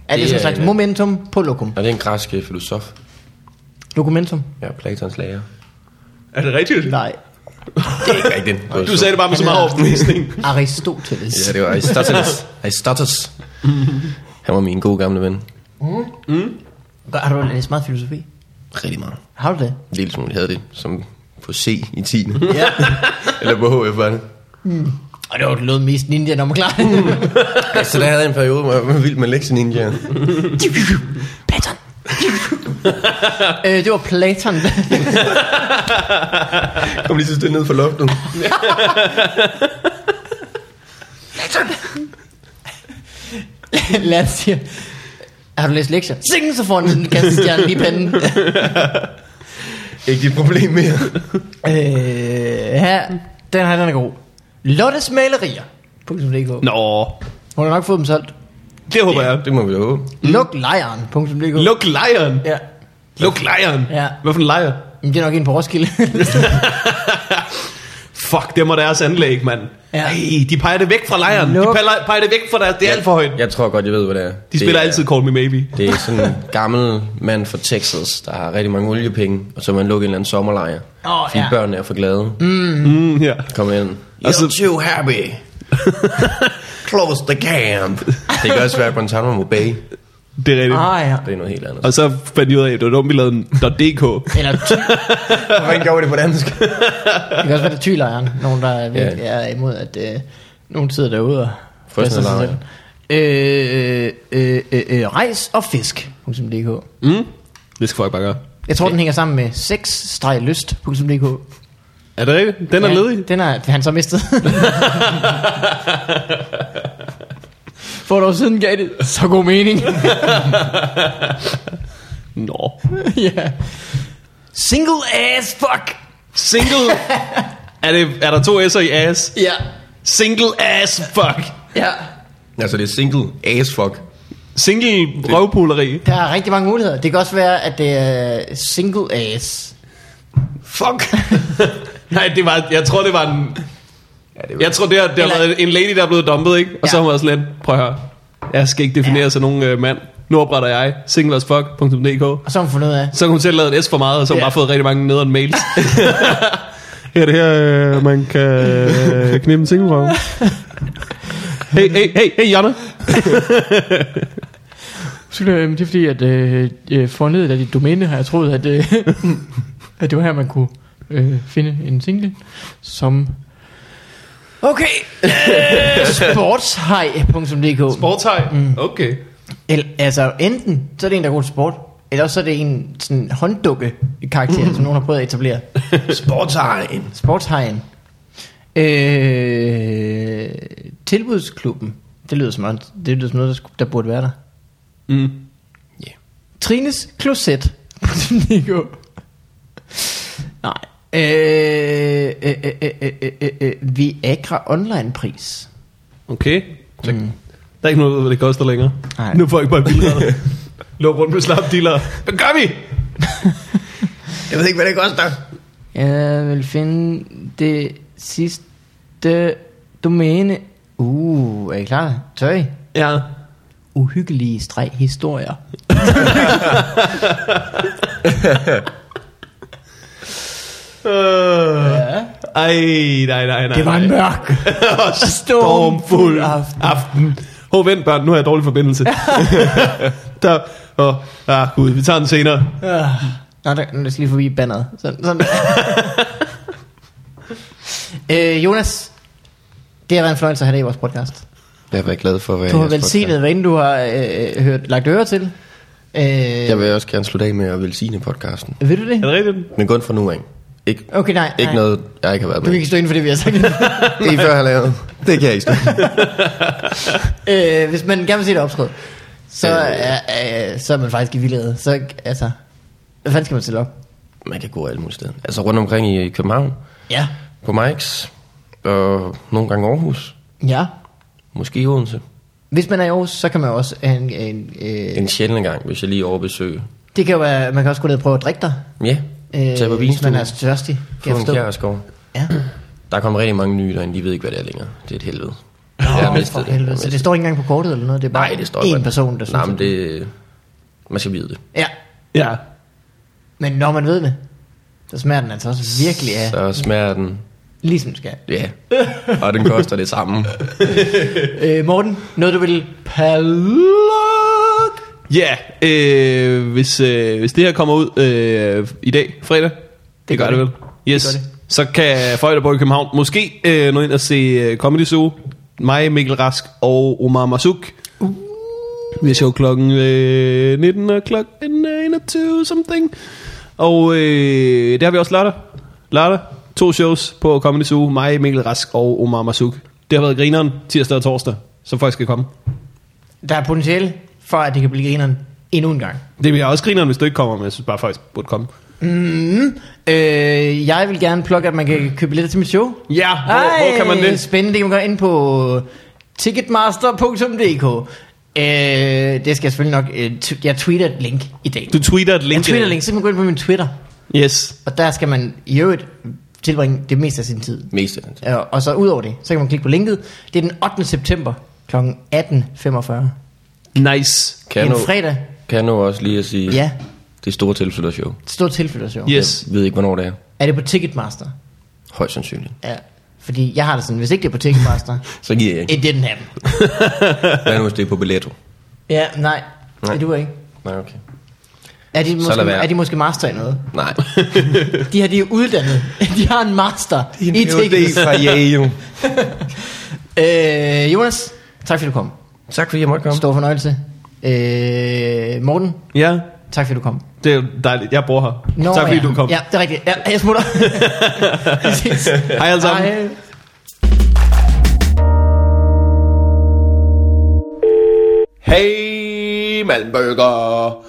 Er det, Det sådan en er- slags momentum på lokum? Og det er en græsk øh, filosof. Lokumentum? Ja, Platons lærer. Er det rigtigt? Nej. Det er ikke rigtigt. Du sagde det bare med så meget overbevisning. Aristoteles. Ja, det var Aristoteles. Aristoteles. Han var min gode gamle ven. Gør- Har du læst meget filosofi? Rigtig meget. Har du det? En lille smule havde det, som på C i 10. Ja. Eller på HF var det. Og det var det lød mest ninja, når man klarer det. Så der havde jeg en periode, hvor jeg var vild med Lexi Ninja. Platon. øh, det var Platon. Kom lige så stille ned for loftet. Lad os sige. Har du læst lektier? Sing, så får han sådan en kastestjerne lige i panden. Ikke dit problem mere. Øh, her, den her, den er god. Lottes malerier. .dk. Nå, Hun har nok fået dem solgt. det håber jeg. Det må vi jo håbe. Luk lejren. .dk. Mm. Luk lejren. Ja. Luk lejren. Ja. Hvad for en lejr? Men det er nok en på Roskilde. Fuck, det må deres anlæg, mand. Ja. Ja. Ej, de peger det væk fra lejren. Luk. Luk. De peger, peger det væk fra deres. Det er alt for højt. Jeg tror godt, jeg ved, hvad det er. De spiller det er, altid Call Me Maybe. Det er sådan en gammel mand fra Texas, der har rigtig mange oliepenge, og så vil han lukke en eller anden sommerlejr. Åh, fordi ja. børnene er for glade. Mm. Mm, ja. Kom ind. Altså- You're Og så- too happy. Close the camp. Det kan også være Guantanamo Bay. Det Det er rigtigt. Ah. ah, ja. er noget helt andet. Og så fandt de ud af, at det var dumt, vi lavede en .dk. Eller ty. Hvordan gjorde vi det på dansk? Det kan også være, det er tylejren. Nogen, der virkelig Ja. er imod, at øh, nogen sidder derude og... Frøsner frister sig lejren. selv. Øh, øh, øh, øh, rejs og fisk. .dk. Mm. Det skal folk bare gøre. Jeg tror, den hænger sammen med sex-lyst.dk. Er det rigtigt? Den er ledig. Den er han så mistet. For et år siden gav det så god mening. Nå. ja. Single ass fuck. Single. er, det, er der to s'er i ass? Ja. Single ass fuck. Ja. Altså, det er single as fuck. Single røvpuleri. Der er rigtig mange muligheder. Det kan også være, at det er single ass. Fuck. Nej, det var, jeg tror, det var en... Ja, det Jeg tror, det har, det har Eller- været en lady, der er blevet dumpet, ikke? Og så Ja. har hun været sådan lidt, prøv at høre. Jeg skal ikke definere ja. sig nogen øh, mand. Nu opretter jeg singleasfuck.dk. Og så har man fundet ud af. Så kan hun selv lave en S for meget, og så har hun Ja. bare fået rigtig mange nederen mails. her er det her, øh, man kan øh, knippe en single Hey, hey, hey, hey, Janne. Skulle, øh, det er fordi, at øh, øh, foranledet af dit domæne har jeg troet, at, øh, at det var her, man kunne øh, finde en single, som Okay. Øh, Sportshej.dk Sportøj. Mm. Okay. Eller, altså enten så er det en, der er god til sport, eller også så er det en sådan hånddukke karakter, som nogen har prøvet at etablere. Sportsegn. Sportshejen. Øh, tilbudsklubben. Det lyder som, noget- det lyder som noget, der, skulle, der burde være der. Mm. Trines Kloset. Nico. Nej. Øh, øh, øh, øh, øh, øh, øh, øh, Viagra online pris. Okay. Mm. Der er ikke noget, der ved, hvad det koster længere. Nej. Nu får jeg bare billeder. Løb rundt med slapdiller. Hvad gør vi? Jeg ved ikke, hvad det koster. Jeg vil finde det sidste domæne. Uh, er I klar? Tøj. Ja. Uhyggelige streg historier. Øh. Ja. Ej, nej, nej, nej. Det var nej. en mørk og stormfuld aften. aften. Hov, vent børn, nu har jeg dårlig forbindelse. der, og, ah, gud, vi tager den senere. Øh. Nå, der, nu skal lige forbi banneret. Sådan, sådan. øh, Jonas, det har været en fornøjelse at have dig i vores podcast. Jeg var glad for at være Du har i jeres velsignet, hvad end du har øh, hørt, lagt øre til. Øh, podcast. Jeg vil også gerne slutte af med at velsigne podcasten. Ved du Er det? det rigtigt? Men kun fra nu af. Ikke, Okay, nej. ikke nej. noget, jeg ikke har været Du kan med. ikke i. stå inden for det, vi har sagt. Det I før har lavet. Det kan jeg ikke stå. øh, hvis man gerne vil se det opskrevet, så, øh, øh, så er man faktisk i vildrede. Så, altså, hvad fanden skal man stille op? Man kan gå alle mulige steder. Altså rundt omkring i København, Ja. på Mike's, og nogle gange Aarhus, Ja. måske i Odense. Hvis man er i Aarhus, så kan man jo også have en, en øh, En sjældent gang, hvis jeg lige overbesøger. det kan jo være, man kan også gå ned og prøve at drikke dig. Ja, øh, tag på hvis man vinstuen, er tørstig, kan jeg få en forstå. kjærskov. Ja. Der er kommet rigtig mange nye derinde, de ved ikke, hvad det er længere. Det er et helvede. Nå, Åh, for helvede. Så det står ikke engang på kortet eller noget? Det er bare Nej, det står én godt. person, der synes. Nej, men at- det... Man skal vide det. Ja, Ja. men når man ved det, så smager den altså også virkelig af, Så smager den... ligesom den skal. Ja. Og den koster det samme. Øh, Morten, noget du vil palukke? Ja, øh, hvis, øh, hvis det her kommer ud øh, i dag, fredag, det, det gør gør det det. vel, yes, Det det gør det. så kan folk, der bor i København, måske øh, nå ind og se øh, Comedy Zoo, mig, Mikkel Rask Uh. og Omar Masuk. Vi er show klokken øh, 19 og klokken øh, get to something. Og øh, det har vi også lørdag. Lørdag. To shows på Comedy Zoo. Mig, Mikkel Rask og Omar Masuk. Det har været grineren tirsdag og torsdag, så folk skal komme. Der er potentiale for, at det kan blive grineren endnu en gang. Det bliver også grineren, hvis du ikke kommer, men jeg synes bare, folk burde komme. Mm. Mm-hmm. Øh, jeg vil gerne plukke, at man kan købe billetter til mit show. Ja, hvor, Ej. hvor kan man det? Spændende, det kan man gøre ind på ticketmaster.dk. Øh, det skal jeg selvfølgelig nok... Øh, t- jeg tweeter et link i dag. Du tweeter et link. jeg tweeter et link, så kan man gå ind på min Twitter. Yes. Og der skal man i øvrigt tilbringe det meste af sin tid. Mest af det. Øh, Og så ud over det, så kan man klikke på linket. Det er den 8. september kl. 18.45. En Nice. Kan jeg, nå, Mm. fredag. kan jeg nå også lige at sige, Ja, det store tilflyttershow. et stort tilflyttershow. Yes. Jeg ved ikke, hvornår det er. Er det på Ticketmaster? Højst sandsynligt. Ja. Fordi jeg har det sådan, hvis ikke det er på Ticketmaster, Så giver jeg ikke. it didn't happen. Hvad nu, hvis det er på Billetto? Ja, nej, Nej. nej. det duer ikke. Nej, okay. Er de, måske, lad være. er de måske master i noget? Nej. De her, de er uddannet. De har en master i tickets. Yale. Øh, Jonas, tak fordi du kom. Tak fordi jeg måtte komme. Stor fornøjelse. Øh, Morten, Ja, tak fordi du kom. det er jo dejligt. Jeg bor her. Nå, tak fordi ja. du kom. Ja, det er rigtigt. Ja, jeg smutter. Vi ses. Hej alle sammen. Hej. Hey, Malmberger.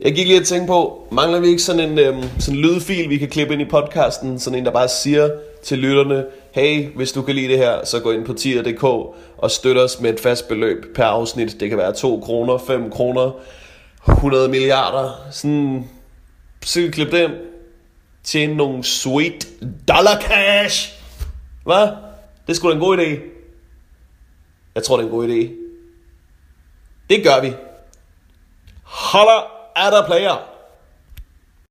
Jeg gik lige og tænkte på, mangler vi ikke sådan en, øhm, sådan en lydfil, vi kan klippe ind i podcasten? Sådan en, der bare siger til lytterne, hey, hvis du kan lide det her, så gå ind på tier.dk og støt os med et fast beløb per afsnit. Det kan være 2 kroner, 5 kroner, 100 milliarder. Sådan, så kan vi klippe det ind. Tjene nogle sweet dollar cash. Hvad? Det er sgu da en god idé. Jeg tror, det er en god idé. Det gør vi. Holler er der player.